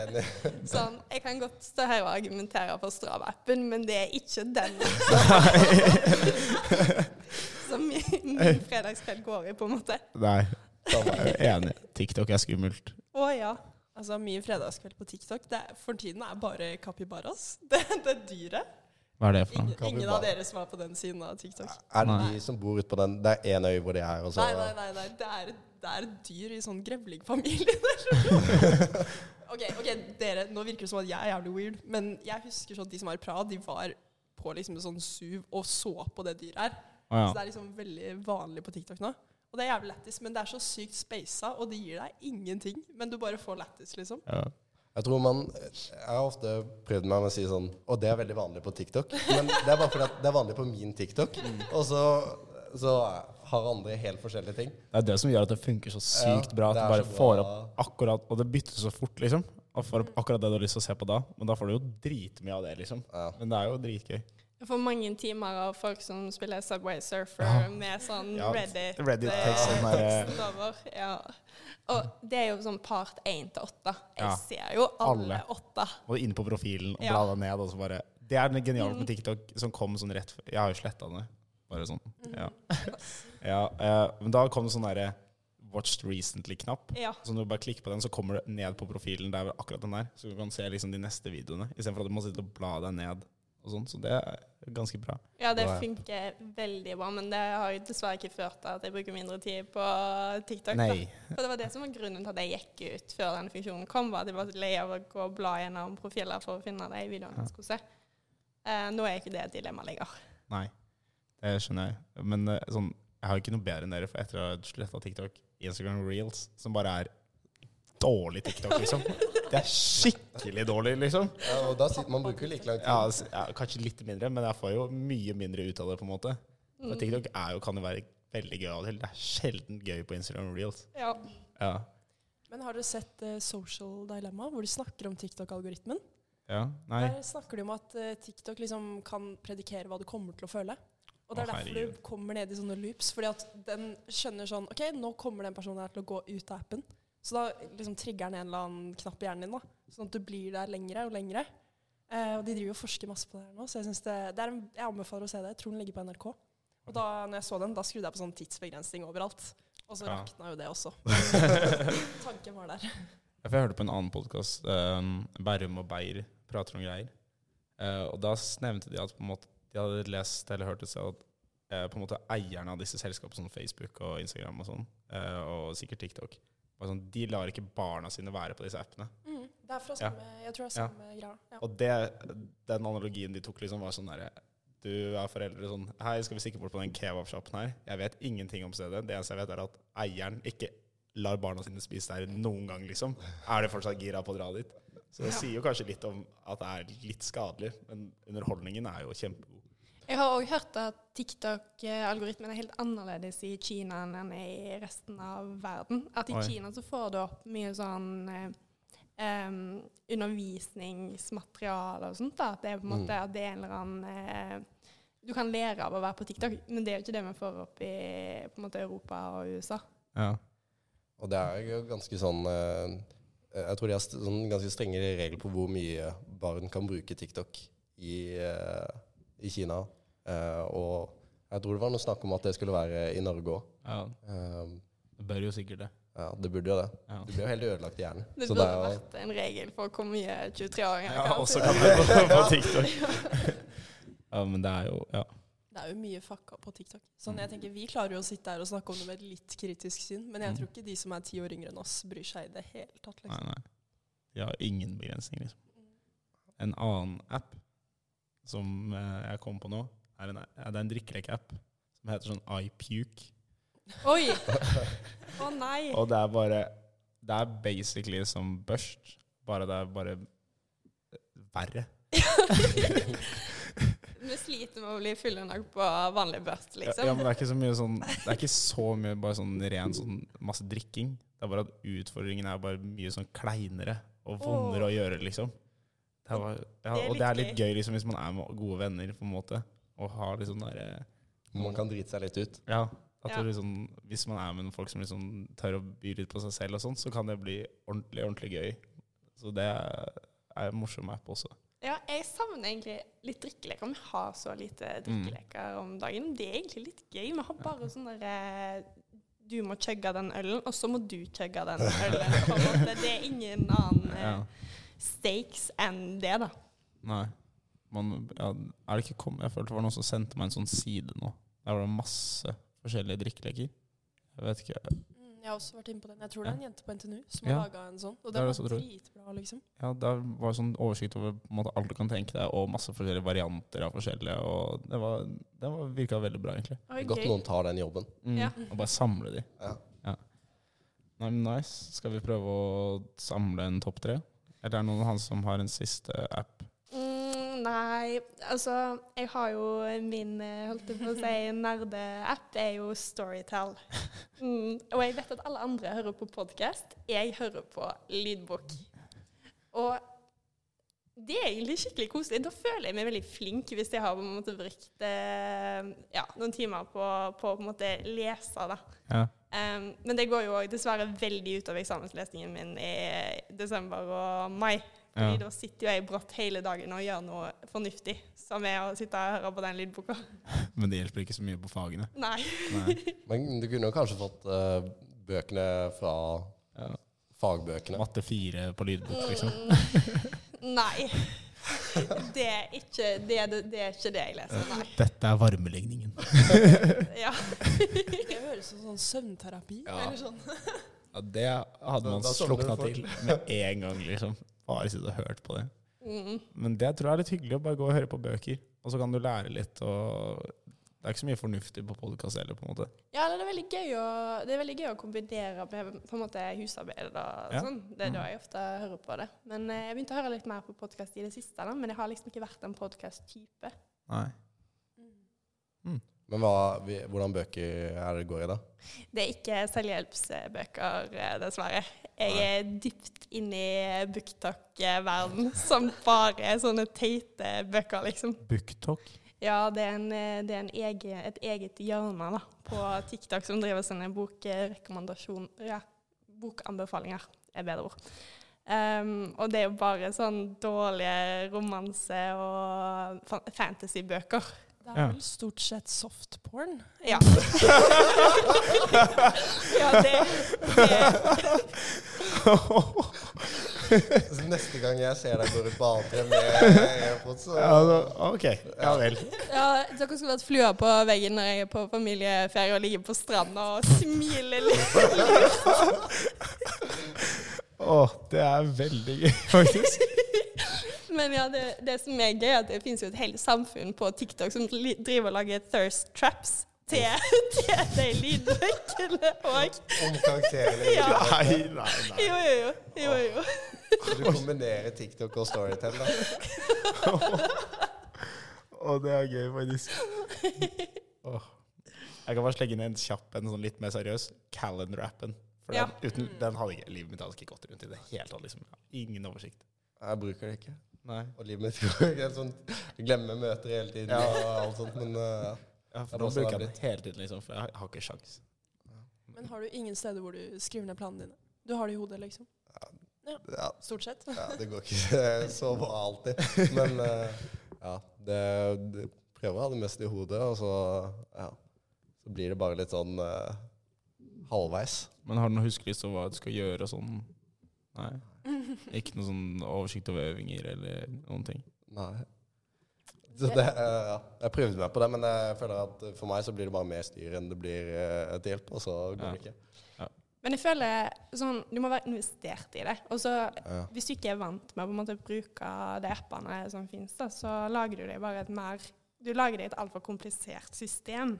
Speaker 5: Sånn, jeg kan godt stå her og argumentere for Strava-appen, men det er ikke
Speaker 3: <laughs>
Speaker 5: den <laughs> som min min fredagskveld går i, på en måte.
Speaker 3: Nei. Jeg er enig. TikTok er skummelt.
Speaker 5: Å ja.
Speaker 6: Altså, Min fredagskveld på TikTok det er, for tiden er bare capybaras. <laughs> Det, det er dyret.
Speaker 3: Hva er det for
Speaker 6: Ingen,
Speaker 3: noe?
Speaker 6: ingen
Speaker 4: Capybara.
Speaker 6: av dere som er på den siden av TikTok.
Speaker 4: Er det
Speaker 3: Nei.
Speaker 4: de som bor ute på den Det er én øy hvor de er, og så
Speaker 6: Nei, nei, nei. nei. Det, er, det er et dyr i sånn grevlingfamilie. <laughs> ok, ok, dere, nå virker det som at jeg er jævlig weird, men jeg husker sånn at de som var i Praha, de var på liksom en sånn SUV og så på det dyret her.
Speaker 3: Å
Speaker 6: Så det
Speaker 3: ja.
Speaker 6: er liksom veldig vanlig på TikTok nå. Og det er jævlig lættis, men det er så sykt spasa, og det gir deg ingenting. Men du bare får lættis, liksom.
Speaker 3: ja.
Speaker 4: Jeg tror man Jeg har ofte prøvd meg med å si sånn Og det er veldig vanlig på TikTok. Men det er bare fordi at det er vanlig på min TikTok. Og så, så har andre helt forskjellige ting.
Speaker 3: Det er det som gjør at det funker så sykt
Speaker 4: Ja,
Speaker 3: bra. At
Speaker 4: det
Speaker 3: du
Speaker 4: er
Speaker 3: bare
Speaker 4: så
Speaker 3: får
Speaker 4: bra.
Speaker 3: opp akkurat Og det bytter så fort, liksom. Og får opp akkurat det du har lyst til å se på da. Men da får du jo dritmye av det, liksom.
Speaker 4: Ja.
Speaker 3: Men det er jo dritgøy.
Speaker 5: Jeg får mange timer av folk som spiller Subway Surfer med sånn
Speaker 3: Ja,
Speaker 5: Reddit.
Speaker 3: Reddit
Speaker 5: eh,
Speaker 3: takes on my-
Speaker 5: teksten over. Ja. Og det er jo sånn part én til åtte. Jeg
Speaker 3: Ja.
Speaker 5: ser jo alle,
Speaker 3: Alle.
Speaker 5: åtte.
Speaker 3: Og inn på profilen og
Speaker 5: Ja. Mm.
Speaker 3: bla deg ned. Og så bare Det er den geniale med TikTok som kom sånn rett før Jeg har jo sletta det. Bare sånn.
Speaker 5: Mm.
Speaker 3: Ja. ja eh, men da kom det sånn derre Watched recently-knapp.
Speaker 5: Ja.
Speaker 3: Så når du bare klikker på den, så kommer du ned på profilen der hvor akkurat den er. Så du kan se liksom de neste videoene, istedenfor at du må sitte og bla deg ned og sånn. Så det er ganske bra.
Speaker 5: Ja, det
Speaker 4: Bra app.
Speaker 5: funker veldig bra, men det har jo dessverre ikke ført til at jeg bruker mindre tid på TikTok.
Speaker 3: Nei.
Speaker 5: Da. For det var det som var grunnen til at jeg gikk ut før den funksjonen kom, var at jeg var så lei av å gå og bla gjennom profiler for å finne de videoene jeg skulle se. Eh, nå er ikke det et dilemma lenger.
Speaker 3: Nei, det skjønner jeg. Men eh, sånn, jeg har jo ikke noe bedre enn dere, for etter å ha sletta TikTok, Instagram Reels, som bare er dårlig TikTok, liksom. Det er skikkelig dårlig, liksom.
Speaker 4: Ja, og da sitter man bruker jo like lang tid.
Speaker 3: Ja, s- ja, kanskje litt mindre, men jeg får jo mye mindre ut av det, på en måte. For TikTok er jo, kan jo være veldig gøy av og til. Det er sjelden gøy på Instagram Reels.
Speaker 5: Ja.
Speaker 3: Ja.
Speaker 6: Men har dere sett eh, Social Dilemma, hvor de snakker om TikTok-algoritmen?
Speaker 3: ja. Nei.
Speaker 6: Der snakker de om at eh, TikTok liksom kan predikere hva du kommer til å føle. Og det er
Speaker 3: Å,
Speaker 6: derfor du
Speaker 3: herregud.
Speaker 6: kommer ned i sånne loops, fordi at den skjønner sånn OK, nå kommer den personen her til å gå ut av appen. Så da liksom trigger den en eller annen knapp i hjernen din, da. Sånn at du blir der lengre og lengre. Eh, og de driver jo og forsker masse på det her nå, så jeg, synes det, det er en, jeg anbefaler å se det. Jeg tror den ligger på NRK. Og da når jeg så den, da skrudde jeg på sånn tidsbegrensning overalt. Og så
Speaker 3: Ja.
Speaker 6: rakna jo det også.
Speaker 3: <laughs>
Speaker 6: Tanken var der.
Speaker 3: Ja, for Jeg hørte på en annen podkast, Bærum og Beyer prater om greier. Eh, og da s- nevnte de at på en måte, de hadde lest eller hørt et sted at eh, på en måte eierne av disse selskapene, som Facebook og Instagram og sånn, eh, og sikkert TikTok, var sånn, de lar ikke barna sine være på disse appene.
Speaker 6: Mm, det er fra
Speaker 3: Ja.
Speaker 6: samme Jeg tror det er
Speaker 3: Ja.
Speaker 6: samme greia. Ja.
Speaker 3: Og det, den analogien de tok, liksom var sånn derre Du er foreldre sånn Hei, skal vi stikke bort på den kebabsjappen her? Jeg vet ingenting om stedet. Det eneste jeg vet, er at eieren ikke lar barna sine spise der noen gang, liksom. Er det fortsatt gira på å dra dit? Så det sier jo kanskje litt om at det er litt skadelig, men underholdningen er jo kjempegod.
Speaker 5: Jeg har òg hørt at TikTok-algoritmen er helt annerledes i Kina enn den er i resten av verden. At i
Speaker 3: Oi.
Speaker 5: Kina så får du opp mye sånn eh, em, undervisningsmateriale og sånt. Da. At det er på en
Speaker 3: Mm.
Speaker 5: måte at det er en eller annen eh, Du kan lære av å være på TikTok, men det er jo ikke det vi får opp i på en måte, Europa og USA.
Speaker 3: Ja.
Speaker 4: Og det er jo ganske sånn eh, eh, Jeg tror de har st- sånn ganske strenge regler på hvor mye barn kan bruke TikTok i, eh, i Kina. Eh, og jeg tror det var noe snakk om at det skulle være i Norge òg.
Speaker 3: Ja, det bør jo sikkert det.
Speaker 4: Ehm, ja, det burde jo det.
Speaker 3: Ja.
Speaker 4: Du blir jo helt ødelagt i hjernen.
Speaker 5: Det
Speaker 4: Så
Speaker 5: burde
Speaker 4: er jo-
Speaker 5: vært en regel for hvor mye 23-åringer
Speaker 3: Ja, også
Speaker 5: putte.
Speaker 3: kan det på, på <laughs> TikTok. Ja, men det er jo Ja.
Speaker 6: Det er jo mye fucka på TikTok. Sånn,
Speaker 3: Mm.
Speaker 6: jeg tenker Vi klarer jo å sitte her og snakke om det med et litt kritisk syn, men jeg tror ikke de som er ti år yngre enn oss, bryr seg i det hele tatt.
Speaker 3: Mm. Nei,
Speaker 6: Liksom.
Speaker 3: nei. De har ingen begrensning, liksom. En annen app som eh, jeg kom på nå, er en, er det en drikkelek-app som heter sånn iPuke. <laughs>
Speaker 5: Oi! Å nei.
Speaker 3: Og det er bare Det er basically som børst, bare det er bare eh, verre.
Speaker 5: Vi sliter med å bli fulle nok på vanlig børst,
Speaker 3: Ja,
Speaker 5: liksom.
Speaker 3: ja, men det er ikke så mye sånn Det er ikke så mye bare sånn ren sånn masse drikking. Det er bare at utfordringen er bare mye sånn kleinere og vondere å gjøre, liksom. Det er, bare, ja, og det er litt gøy liksom hvis man er med gode venner, på en måte, og har liksom den derre
Speaker 4: Man kan drite seg litt ut.
Speaker 3: Ja. At
Speaker 5: Ja.
Speaker 3: Det liksom, hvis man er med noen folk som liksom tør å by litt på seg selv, og sånn, så kan det bli ordentlig ordentlig gøy. Så det er, er en morsom app også.
Speaker 5: Ja, jeg savner egentlig litt drikkeleker. Vi har så lite drikkeleker om dagen. Det er egentlig litt gøy. Vi har bare sånn derre Du må chugge den ølen, og så må du chugge den ølen. På en måte. Det er ingen annen
Speaker 3: Ja.
Speaker 5: eh, stakes enn det, da.
Speaker 3: Nei. Man, ja, er det ikke kom, jeg følte det var noen som sendte meg en sånn side nå. Der var det masse forskjellige drikkeleker. Jeg vet ikke.
Speaker 6: Mm, Jeg har også vært inne på den. Jeg tror det er en jente på NTNU som
Speaker 3: Ja.
Speaker 6: har laga en sånn. Og
Speaker 3: Det er
Speaker 6: den
Speaker 3: det som
Speaker 6: var
Speaker 3: tror.
Speaker 6: dritbra, liksom.
Speaker 3: Ja, Der var det sånn oversikt over på en måte, alt du kan tenke deg, og masse forskjellige varianter av forskjellige. Og det, var, det var, virka veldig bra, egentlig.
Speaker 5: Oi,
Speaker 4: Godt
Speaker 5: gøy.
Speaker 4: noen tar den jobben.
Speaker 5: Ja.
Speaker 3: Og bare samle de.
Speaker 4: Ja.
Speaker 3: Nei, men nice. Skal vi prøve å samle en topp tre? Eller er det noen av han som har en siste app?
Speaker 5: Mm, nei, altså Jeg har jo min, eh, holdt jeg på å si, <laughs> nerdeapp. Det er jo Storytel. Mm, og jeg vet at alle andre hører på podkast. Jeg hører på lydbok. Og det er egentlig skikkelig koselig. Da føler jeg meg veldig flink hvis jeg har på en måte brukt eh, ja, noen timer på, på å på en måte lese, da.
Speaker 3: Ja.
Speaker 5: Um, men det går jo også dessverre veldig ut av eksamenslesningen min i desember og mai. Fordi
Speaker 3: Ja.
Speaker 5: da sitter jo jeg brått hele dagen og gjør noe fornuftig, som er å sitte og høre på den lydboka.
Speaker 3: Men det hjelper ikke så mye på fagene.
Speaker 5: Nei.
Speaker 3: Nei.
Speaker 4: Men du kunne jo kanskje fått eh, bøkene fra
Speaker 3: Ja.
Speaker 4: fagbøkene.
Speaker 3: Matte fire på lydbok,
Speaker 5: Mm.
Speaker 3: liksom.
Speaker 5: Nei. Det er ikke det, er det, det, er ikke det jeg leser, nei.
Speaker 3: Dette er varmelegningen.
Speaker 5: <laughs> Ja.
Speaker 6: Det høres ut som sånn søvnterapi. Eller sånn.
Speaker 3: Ja, det hadde man
Speaker 4: Da- da sovner
Speaker 3: slukna
Speaker 4: du fort.
Speaker 3: til med en gang, liksom. Bare sittet og hørt på det. Men det tror jeg er litt hyggelig, å bare gå og høre på bøker. Og så kan du lære litt, og det er ikke så mye fornuftig på podkast heller, på en måte.
Speaker 5: Ja, eller det er veldig gøy å, det er veldig gøy å kombinere med på en måte husarbeid og
Speaker 3: Ja. Mm.
Speaker 5: sånn. Det er da jeg ofte hører på det. Men eh, jeg begynte å høre litt mer på podkast i det siste, da, men jeg har liksom ikke vært en podkast-type.
Speaker 3: Nei.
Speaker 6: Mm.
Speaker 4: Men hva, vi, hvordan bøker er det går i, da?
Speaker 5: Det er ikke selvhjelpsbøker, eh, dessverre. Jeg er dypt inne i booktalk-verden, <laughs> som bare er sånne teite bøker, liksom.
Speaker 3: Booktalk.
Speaker 5: Ja, det er, en, eh, det er en egen, et eget hjørne da, på TikTok som driver sine bokrekommandasjon... Ja, bokanbefalinger er bedre ord. Ehm, og det er jo bare sånn dårlige romanse- og fa- fantasybøker.
Speaker 6: Det er
Speaker 3: Ja.
Speaker 6: vel stort sett softporn.
Speaker 5: Ja. ja, det, det
Speaker 4: <laughs> Så neste gang jeg ser deg gå ut på A3 med AirPods, så
Speaker 3: OK. Ja vel.
Speaker 5: Ja, dere skulle vært flua på veggen når jeg er på familieferie og ligger på stranda og smiler litt.
Speaker 3: Å, det er veldig gøy, <laughs> faktisk.
Speaker 5: Men ja, det, det som er gøy, er at det finnes jo et helt samfunn på TikTok som li- driver og lager thirst traps til, til de lydbøkene òg.
Speaker 4: om karakterene i
Speaker 5: Ja.
Speaker 3: Nei, nei, nei.
Speaker 5: Jo, jo, jo. jo, jo.
Speaker 4: Du kombinerer TikTok og Storytel, da.
Speaker 3: Å, det er gøy, faktisk. Åh. Jeg kan bare slenge inn en kjapp en, sånn litt mer seriøs. Calendar-appen. For
Speaker 5: Ja.
Speaker 3: den, uten, den hadde ikke, livet mitt hadde ikke gått rundt i det hele tatt. Liksom. Jeg har Ingen oversikt.
Speaker 4: Jeg bruker det ikke.
Speaker 3: Nei.
Speaker 4: Og livet mitt går helt sånn Jeg glemmer møter hele tiden og alt sånt, men eh,
Speaker 3: Ja, for nå
Speaker 4: Jeg må også
Speaker 3: bruker
Speaker 4: være
Speaker 3: jeg den hele tiden, liksom, for jeg har ikke sjans.
Speaker 6: Men har du ingen steder hvor du skriver ned planene dine? Du har det i hodet, liksom? Ja.
Speaker 4: Ja,
Speaker 6: Stort sett.
Speaker 4: ja, det går ikke så bra alltid. Men eh, ja, det, det prøver å ha det mest i hodet, og så, ja, så blir det bare litt sånn eh, halvveis.
Speaker 3: Men har du noe huskelyst over hva du skal gjøre og sånn? <laughs> Nei. Ikke noe sånn oversikt over øvinger eller noen ting?
Speaker 4: Nei. Så det, eh, ja. Jeg prøvde meg på det, men jeg føler at for meg så blir det bare mer styr enn det blir eh, til hjelp, og så går det
Speaker 3: Ja.
Speaker 4: ikke.
Speaker 5: Men jeg føler sånn, du må være investert i det. Og så,
Speaker 4: Ja.
Speaker 5: hvis du ikke er vant med å på en måte bruke de appene som finnes, da, så lager du deg bare et mer Du lager deg et altfor komplisert system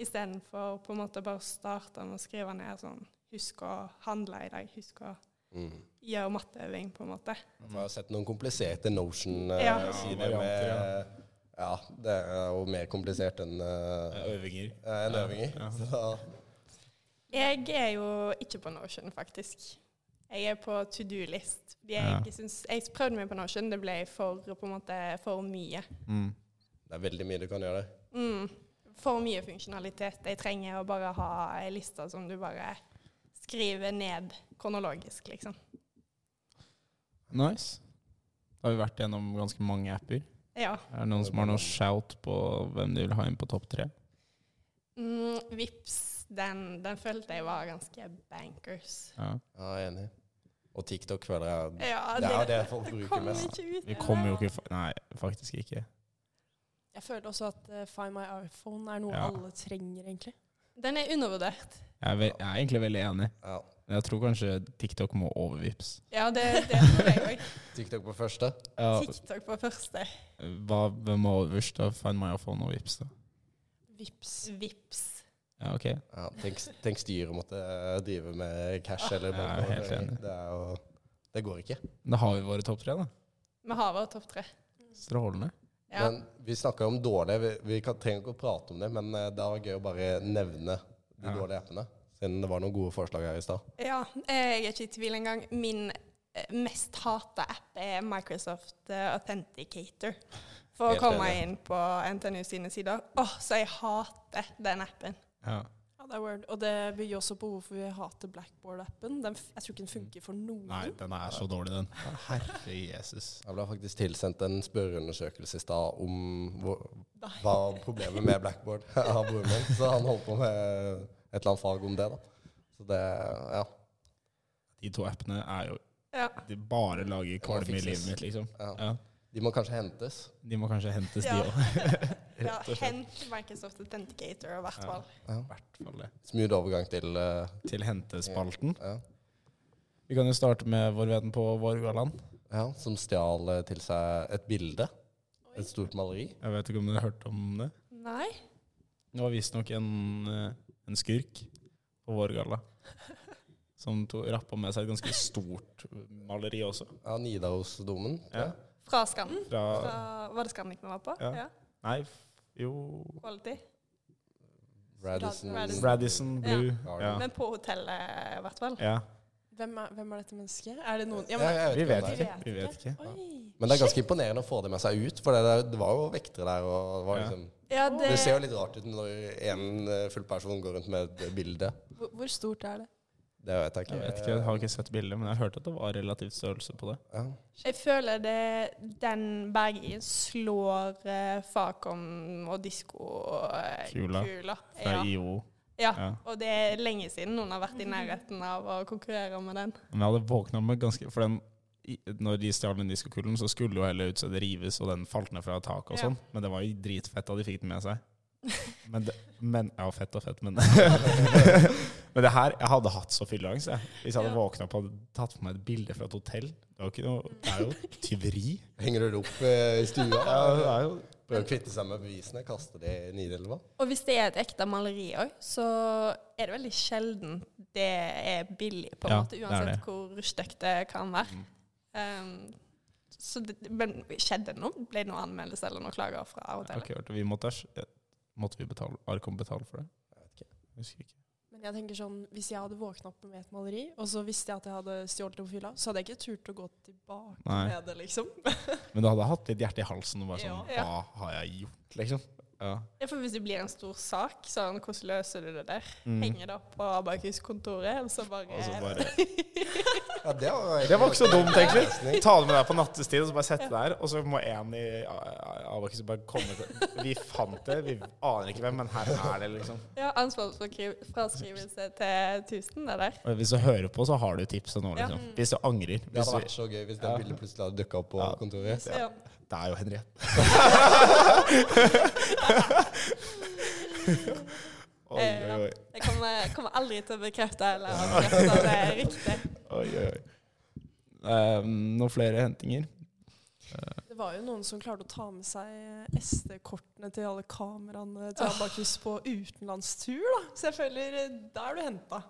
Speaker 5: istedenfor på en måte bare starte med å skrive ned sånn Husk å handle i dag. Husk å
Speaker 4: Mm.
Speaker 5: gjøre matteøving, på en måte.
Speaker 4: Jeg har sett noen kompliserte
Speaker 5: Ja.
Speaker 4: Notion-sider
Speaker 3: Ja, varianter,
Speaker 4: med Ja, det er jo mer komplisert enn eh,
Speaker 3: Øvinger.
Speaker 4: eh, enn øvinger.
Speaker 3: Ja.
Speaker 4: Så
Speaker 5: Jeg er jo ikke på Notion, faktisk. Jeg er på to do-list. Jeg,
Speaker 3: Ja.
Speaker 5: syns- jeg prøvde meg på Notion, det ble for, på en måte, for mye.
Speaker 3: Mm.
Speaker 4: det er veldig mye du kan gjøre.
Speaker 5: Mm. For mye funksjonalitet. Jeg trenger å bare ha ei liste som du bare skriver ned kronologisk, liksom.
Speaker 3: Nice. Da har vi vært gjennom ganske mange apper.
Speaker 5: Ja.
Speaker 3: Er det noen som har noe shout på hvem de vil ha inn på topp tre?
Speaker 5: Mm, Vips, den, den følte jeg var ganske bankers.
Speaker 3: Ja.
Speaker 4: Ja, jeg er enig. Og TikTok føler jeg
Speaker 5: Ja,
Speaker 4: Det er jo det folk bruker
Speaker 5: kom
Speaker 4: mest.
Speaker 5: ikke ut.
Speaker 3: Vi kommer jo ikke fa- Nei, faktisk ikke.
Speaker 6: Jeg føler også at eh, Find my iPhone er noe
Speaker 3: Ja.
Speaker 6: alle trenger, egentlig.
Speaker 5: Den er undervurdert.
Speaker 3: Jeg er, ve jeg er egentlig veldig enig.
Speaker 4: Ja.
Speaker 3: Men jeg tror kanskje TikTok må over Vipps.
Speaker 5: Ja, det, det tror jeg òg.
Speaker 4: TikTok på første.
Speaker 3: Ja,
Speaker 5: TikTok på første.
Speaker 3: hva, hvem må øverst? da? Find my iPhone og Vipps, da.
Speaker 6: Vips.
Speaker 5: Vips.
Speaker 3: Ja, ok.
Speaker 4: Ja, tenk, tenk styret måtte eh, drive med cash eller
Speaker 3: Jeg er
Speaker 4: bank.
Speaker 3: helt enig.
Speaker 4: Det er jo Det går ikke.
Speaker 3: Da har vi våre topp tre, da.
Speaker 5: Vi har vår topp tre.
Speaker 3: Strålende.
Speaker 5: Ja.
Speaker 4: Men vi snakker om dårlige. Vi, vi kan, trenger ikke å prate om det, men eh, det var gøy å bare nevne de
Speaker 3: Ja.
Speaker 4: dårlige appene. Siden det var noen gode forslag her i stad.
Speaker 5: ja. eh, Jeg er ikke i tvil engang. Min eh, mest hata app er Microsoft eh, Authenticator. For
Speaker 4: Helt
Speaker 5: å komme
Speaker 4: enig.
Speaker 5: inn på NTNU sine sider. Åh, så jeg hater den appen.
Speaker 3: Ja.
Speaker 6: Ja, det er word. Og det bygger også på hvorfor vi hater Blackboard-appen. Den f- Jeg tror ikke den funker for noen.
Speaker 3: Mm. Nei, den er så dårlig, den. Herre Jesus.
Speaker 4: Jeg ble faktisk tilsendt en spørreundersøkelse i stad om hvor, hva problemet med blackboard <laughs> av broren min. Så han holdt på med et eller annet fag om det, da. Så det Ja.
Speaker 3: De to appene er jo
Speaker 5: Ja.
Speaker 3: De bare lager kvalme i
Speaker 4: fikses.
Speaker 3: livet mitt, liksom.
Speaker 4: ja.
Speaker 3: Ja.
Speaker 4: De må kanskje hentes.
Speaker 3: De må kanskje hentes,
Speaker 5: Ja.
Speaker 3: de òg.
Speaker 5: ja Hent Microsoft Authenticator, i hvert
Speaker 3: Ja.
Speaker 5: fall.
Speaker 4: Ja.
Speaker 3: det.
Speaker 4: Smooth overgang til eh,
Speaker 3: Til hentespalten.
Speaker 4: ja.
Speaker 3: Vi kan jo starte med vår venn på Vårgaland.
Speaker 4: ja, som stjal eh, til seg et bilde. Et stort maleri.
Speaker 3: Jeg vet ikke om dere har hørt om det?
Speaker 5: Nei.
Speaker 3: Det var visstnok en, eh, en skurk på Vårgalla <laughs> som to- rappa med seg et ganske stort maleri også.
Speaker 4: Ja, Nidarosdomen.
Speaker 3: Ja.
Speaker 5: Fra Scandic?
Speaker 3: Fra
Speaker 5: Fra, var det Scandic vi var på?
Speaker 3: Ja. Nei, f- jo
Speaker 5: Quality.
Speaker 4: Radisson.
Speaker 5: Radisson.
Speaker 3: Radisson Blue.
Speaker 4: Ja.
Speaker 3: Ja.
Speaker 5: Men på hotellet, eh, i hvert fall.
Speaker 3: ja.
Speaker 6: Hvem, er, hvem er dette mennesket? Er det noen ja,
Speaker 4: Ja,
Speaker 6: men,
Speaker 4: jeg
Speaker 3: Vi
Speaker 4: vet ikke
Speaker 3: vet
Speaker 4: om det er.
Speaker 3: ikke. Vi vet ikke.
Speaker 6: Oi.
Speaker 4: Men det er ganske imponerende å få det med seg ut, for det, det var jo vektere der. Og det, var
Speaker 3: Ja.
Speaker 4: liksom,
Speaker 5: Ja,
Speaker 4: det ser jo litt rart ut når en eh, full person går rundt med et bilde.
Speaker 6: Hvor, hvor stort er det?
Speaker 4: Det vet jeg ikke.
Speaker 3: Jeg vet ikke, jeg har ikke sett bildet, men jeg hørte at det var relativt størrelse på det.
Speaker 4: Ja.
Speaker 5: Jeg føler det den Bergen slår eh, Facom og
Speaker 3: Kula.
Speaker 5: diskokula.
Speaker 3: Fra
Speaker 5: Ja.
Speaker 3: IO.
Speaker 5: ja.
Speaker 3: Ja.
Speaker 5: Og det er lenge siden noen har vært i nærheten av å konkurrere med den.
Speaker 3: Men jeg hadde våkna med ganske For den, i- når de stjal den diskokulen, så skulle jo hele utstedet rives, og den falt ned fra taket og
Speaker 5: Ja.
Speaker 3: sånn. Men det var jo dritfett at de fikk den med seg. <laughs> Men, det, men Ja, fett og <laughs> fett, men Men det her Jeg hadde hatt så fylleangst, jeg. Hvis jeg hadde
Speaker 5: Ja.
Speaker 3: våkna opp og hadde tatt på meg et bilde fra et hotell. Det, var ikke noe, det er jo tyveri.
Speaker 4: Henger du det opp eh, i
Speaker 3: <laughs>
Speaker 4: stua?
Speaker 3: Ja, det er jo
Speaker 4: Prøver å kvitte seg med bevisene, kaste det i Nidelva.
Speaker 5: Og hvis det er et ekte maleri òg, så er det veldig sjelden det er billig, på en
Speaker 3: Ja,
Speaker 5: måte,
Speaker 3: det Mm. er
Speaker 5: uansett
Speaker 3: det.
Speaker 5: hvor stygt det kan være. Um, så det, men skjedde det noe? Ble det noen anmeldelse eller noen klager fra
Speaker 3: Jeg har
Speaker 5: hotellet?
Speaker 3: ikke hørt det. Vi måtte, eh, måtte vi betale Arkom betale for det?
Speaker 4: vet
Speaker 3: Jeg husker ikke.
Speaker 6: Men jeg tenker sånn, Hvis jeg hadde våkna opp med et maleri, og så visste jeg at jeg hadde stjålet det på fylla, så hadde jeg ikke turt å gå tilbake
Speaker 3: Nei.
Speaker 6: med det, liksom.
Speaker 3: Men du hadde hatt litt hjerte i halsen og bare
Speaker 6: Ja.
Speaker 3: sånn
Speaker 5: Ja.
Speaker 3: Hva har jeg gjort, liksom? Ja.
Speaker 5: Ja, for hvis det blir en stor sak, sånn hvordan løser du det der?
Speaker 3: Mm.
Speaker 5: Henger det opp på Abakus-kontoret, og så bare,
Speaker 3: Og så bare-
Speaker 4: Ja, det, var
Speaker 7: <laughs> Det var ikke så dumt, egentlig.
Speaker 4: Løsning.
Speaker 7: Ta det med deg på nattestid, og så bare sette deg der. Og så må en i Abakus bare komme til Vi fant det, vi aner ikke hvem, men her er det, liksom.
Speaker 5: Ja, ansvarsfraskrivelse til 1000, det der.
Speaker 7: Og hvis du hører på, så har du tipset nå,
Speaker 5: Ja.
Speaker 7: liksom. Hvis du angrer.
Speaker 4: Det
Speaker 7: Hvis du,
Speaker 4: hadde vært så gøy hvis det
Speaker 7: Ja.
Speaker 4: bildet plutselig hadde dukka opp på
Speaker 7: Ja.
Speaker 4: kontoret.
Speaker 5: Så, ja.
Speaker 7: det er jo Henriette. <laughs> Oi,
Speaker 5: Eh,
Speaker 7: oi, oi.
Speaker 5: Jeg kommer, kommer aldri til å bekrefte eller avkrefte at det er riktig.
Speaker 3: Oi, oi, oi. Eh,
Speaker 7: Ehm,
Speaker 3: noen flere hentinger?
Speaker 6: Det var jo noen som klarte å ta med seg SD-kortene til alle kameraene til Abakus på utenlandstur, da. Så jeg føler eh, da er du henta.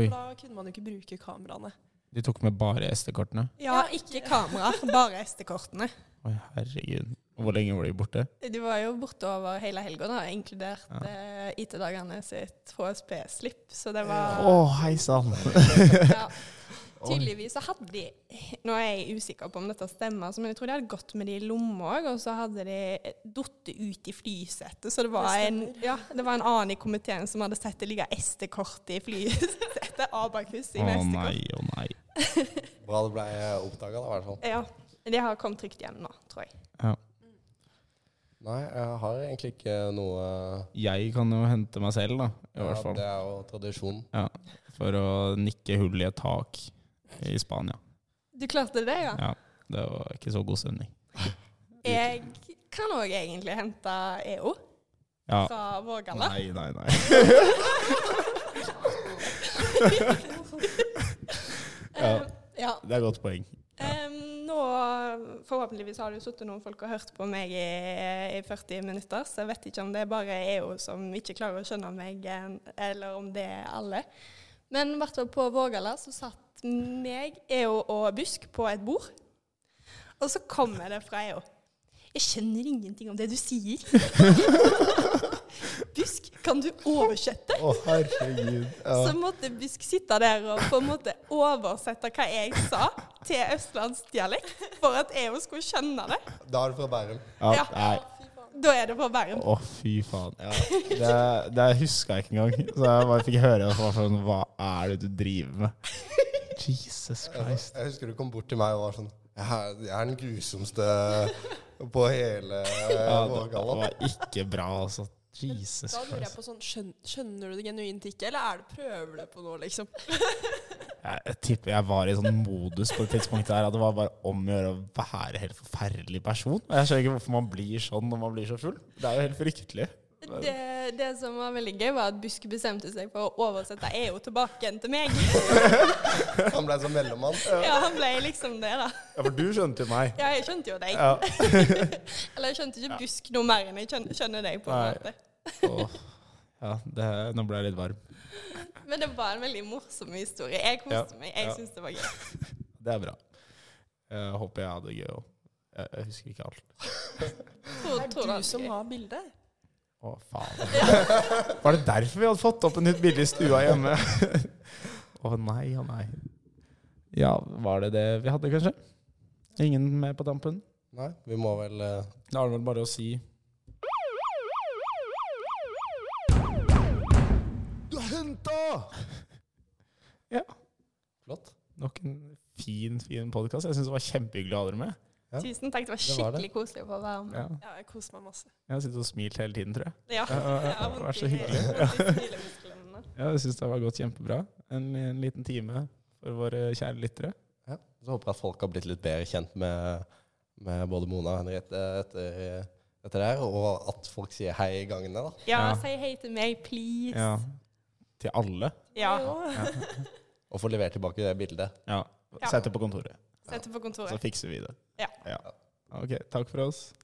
Speaker 3: Oi,
Speaker 6: Da kunne man jo ikke bruke kameraene.
Speaker 3: de tok med bare SD-kortene.
Speaker 5: Ja, ikke kamera, bare SD-kortene.
Speaker 3: Oi, herregud. Hvor lenge var de borte?
Speaker 5: Du var jo borte over hele helga, da, inkludert
Speaker 3: Ja.
Speaker 5: eh, IT-dagene sitt HSP-slipp, så det var
Speaker 7: Å, hei sann.
Speaker 5: ja. Tydeligvis så hadde de Nå er jeg usikker på om dette stemmer, altså, men jeg tror de hadde gått med det i lomma òg, og så hadde de eh, datt ut i flysetet. Så det var,
Speaker 6: Det
Speaker 5: en,
Speaker 6: stemmer.
Speaker 5: ja, det var en annen i komiteen som hadde sett det ligge SD-kort i flysetet. Abakus
Speaker 3: Å
Speaker 5: i neste
Speaker 3: nei,
Speaker 5: kort.
Speaker 3: å nei.
Speaker 4: Bra det ble oppdaga, da, i hvert fall.
Speaker 5: Ja. De har kommet trygt hjem nå, tror jeg.
Speaker 4: Nei, jeg har egentlig ikke noe
Speaker 3: Jeg kan jo hente meg selv, da. I hvert fall.
Speaker 4: Det er jo tradisjon.
Speaker 3: For å nikke hull i et tak i Spania.
Speaker 5: Du klarte det, ja?
Speaker 3: Ja, det var ikke så god stemning.
Speaker 5: Jeg kan òg egentlig hente EO
Speaker 3: Ja.
Speaker 5: fra Vårgalla.
Speaker 3: Nei, nei, nei.
Speaker 5: Ja. Eh, ja.
Speaker 3: Det er et godt poeng.
Speaker 5: Em, nå, Forhåpentligvis har det jo sittet noen folk og hørt på meg i, i 40 minutter, så jeg vet ikke om det er bare EO som ikke klarer å skjønne meg, en- eller om det er alle. Men i hvert fall på Vågala så satt meg, EO og Busk på et bord, og så kommer det fra EO. Jeg skjønner ingenting om det du sier. Busk, kan du oversette?
Speaker 7: Å, herregud.
Speaker 5: Så måtte Busk sitte der og på en måte oversette hva jeg sa til østlandsdialekt, for at jeg jo skulle skjønne det.
Speaker 4: <laughs> Da er det fra Bærum.
Speaker 7: Ja,
Speaker 5: Ja.
Speaker 7: nei.
Speaker 5: Da er det på Bærum.
Speaker 7: Å, fy faen. Ja. Det, det huska jeg ikke engang. Så jeg bare fikk høre det. og så var jeg Sånn, Hva er det du driver med? Jesus Christ.
Speaker 4: Jeg husker du kom bort til meg og var sånn Jeg er, jeg er den grusomste på hele
Speaker 7: <laughs>
Speaker 4: eh,
Speaker 7: Ja, det
Speaker 4: Vårgalla.
Speaker 7: var ikke bra, altså. Jesus
Speaker 6: Da lurer jeg
Speaker 7: Christ.
Speaker 6: på sånn, skjøn- Skjønner du det genuint ikke, eller er det, prøver du på noe, liksom?
Speaker 7: Jeg, jeg tipper jeg var i sånn modus på det tidspunktet her at det var bare om å gjøre å være en helt forferdelig person. Og jeg skjønner ikke hvorfor man blir sånn når man blir så full. Det er jo helt fryktelig.
Speaker 5: Det, det som var veldig gøy, var at Busk bestemte seg for å oversette EO tilbake igjen til meg.
Speaker 4: Han ble som mellommann.
Speaker 5: Ja, han ble liksom det, da.
Speaker 7: Ja, for du skjønte jo meg.
Speaker 5: Ja, jeg skjønte jo deg.
Speaker 7: Ja.
Speaker 5: Eller jeg skjønte ikke Busk noe mer enn jeg skjøn- skjønner deg, på en
Speaker 7: Nei.
Speaker 5: måte.
Speaker 7: Åh. Ja, det, nå ble jeg litt varm.
Speaker 5: Men det var en veldig morsom historie. Jeg koste
Speaker 7: Ja.
Speaker 5: meg. Jeg
Speaker 7: Ja.
Speaker 5: synes det var gøy.
Speaker 7: Det er bra. Jeg håper jeg hadde det gøy òg. Jeg, jeg husker ikke alt.
Speaker 5: Tror,
Speaker 6: Det
Speaker 5: tror
Speaker 6: er
Speaker 5: det
Speaker 6: du
Speaker 5: var
Speaker 6: som
Speaker 5: gøy.
Speaker 6: har bildet.
Speaker 7: Å, faen. Var det derfor vi hadde fått opp et nytt bilde i stua hjemme? Å nei, å nei. Ja, var det det vi hadde, kanskje? Ingen med på dampen?
Speaker 4: Nei, vi må vel eh,
Speaker 3: Da er det vel bare å si
Speaker 7: Du har henta! Ja.
Speaker 4: Flott.
Speaker 7: Nok en fin, fin podkast. Jeg syns det var kjempehyggelig å ha dere med.
Speaker 4: Ja.
Speaker 5: Tusen takk. Det var
Speaker 4: Det var det.
Speaker 5: skikkelig koselig å få være med.
Speaker 3: ja.
Speaker 6: Ja, jeg koser meg masse.
Speaker 3: Jeg har sittet og smilt hele tiden, tror jeg.
Speaker 5: Ja.
Speaker 3: ja, ja. Vær så hyggelig.
Speaker 5: hyggelig.
Speaker 3: Ja, jeg syns det har gått kjempebra. En, en liten time for våre kjære lyttere.
Speaker 4: ja. Så håper jeg at folk har blitt litt bedre kjent med, med både Mona og Henriette etter, etter det her, og at folk sier hei i gangene, da.
Speaker 5: Ja,
Speaker 3: Ja.
Speaker 5: si hei til meg, please.
Speaker 3: Ja. Til alle.
Speaker 5: Ja.
Speaker 4: Og få levert tilbake det bildet.
Speaker 3: Ja.
Speaker 5: Ja.
Speaker 3: Sett det på kontoret,
Speaker 5: Sett deg på kontoret.
Speaker 3: så fikser vi det.
Speaker 5: Ja.
Speaker 3: Ok, takk for oss.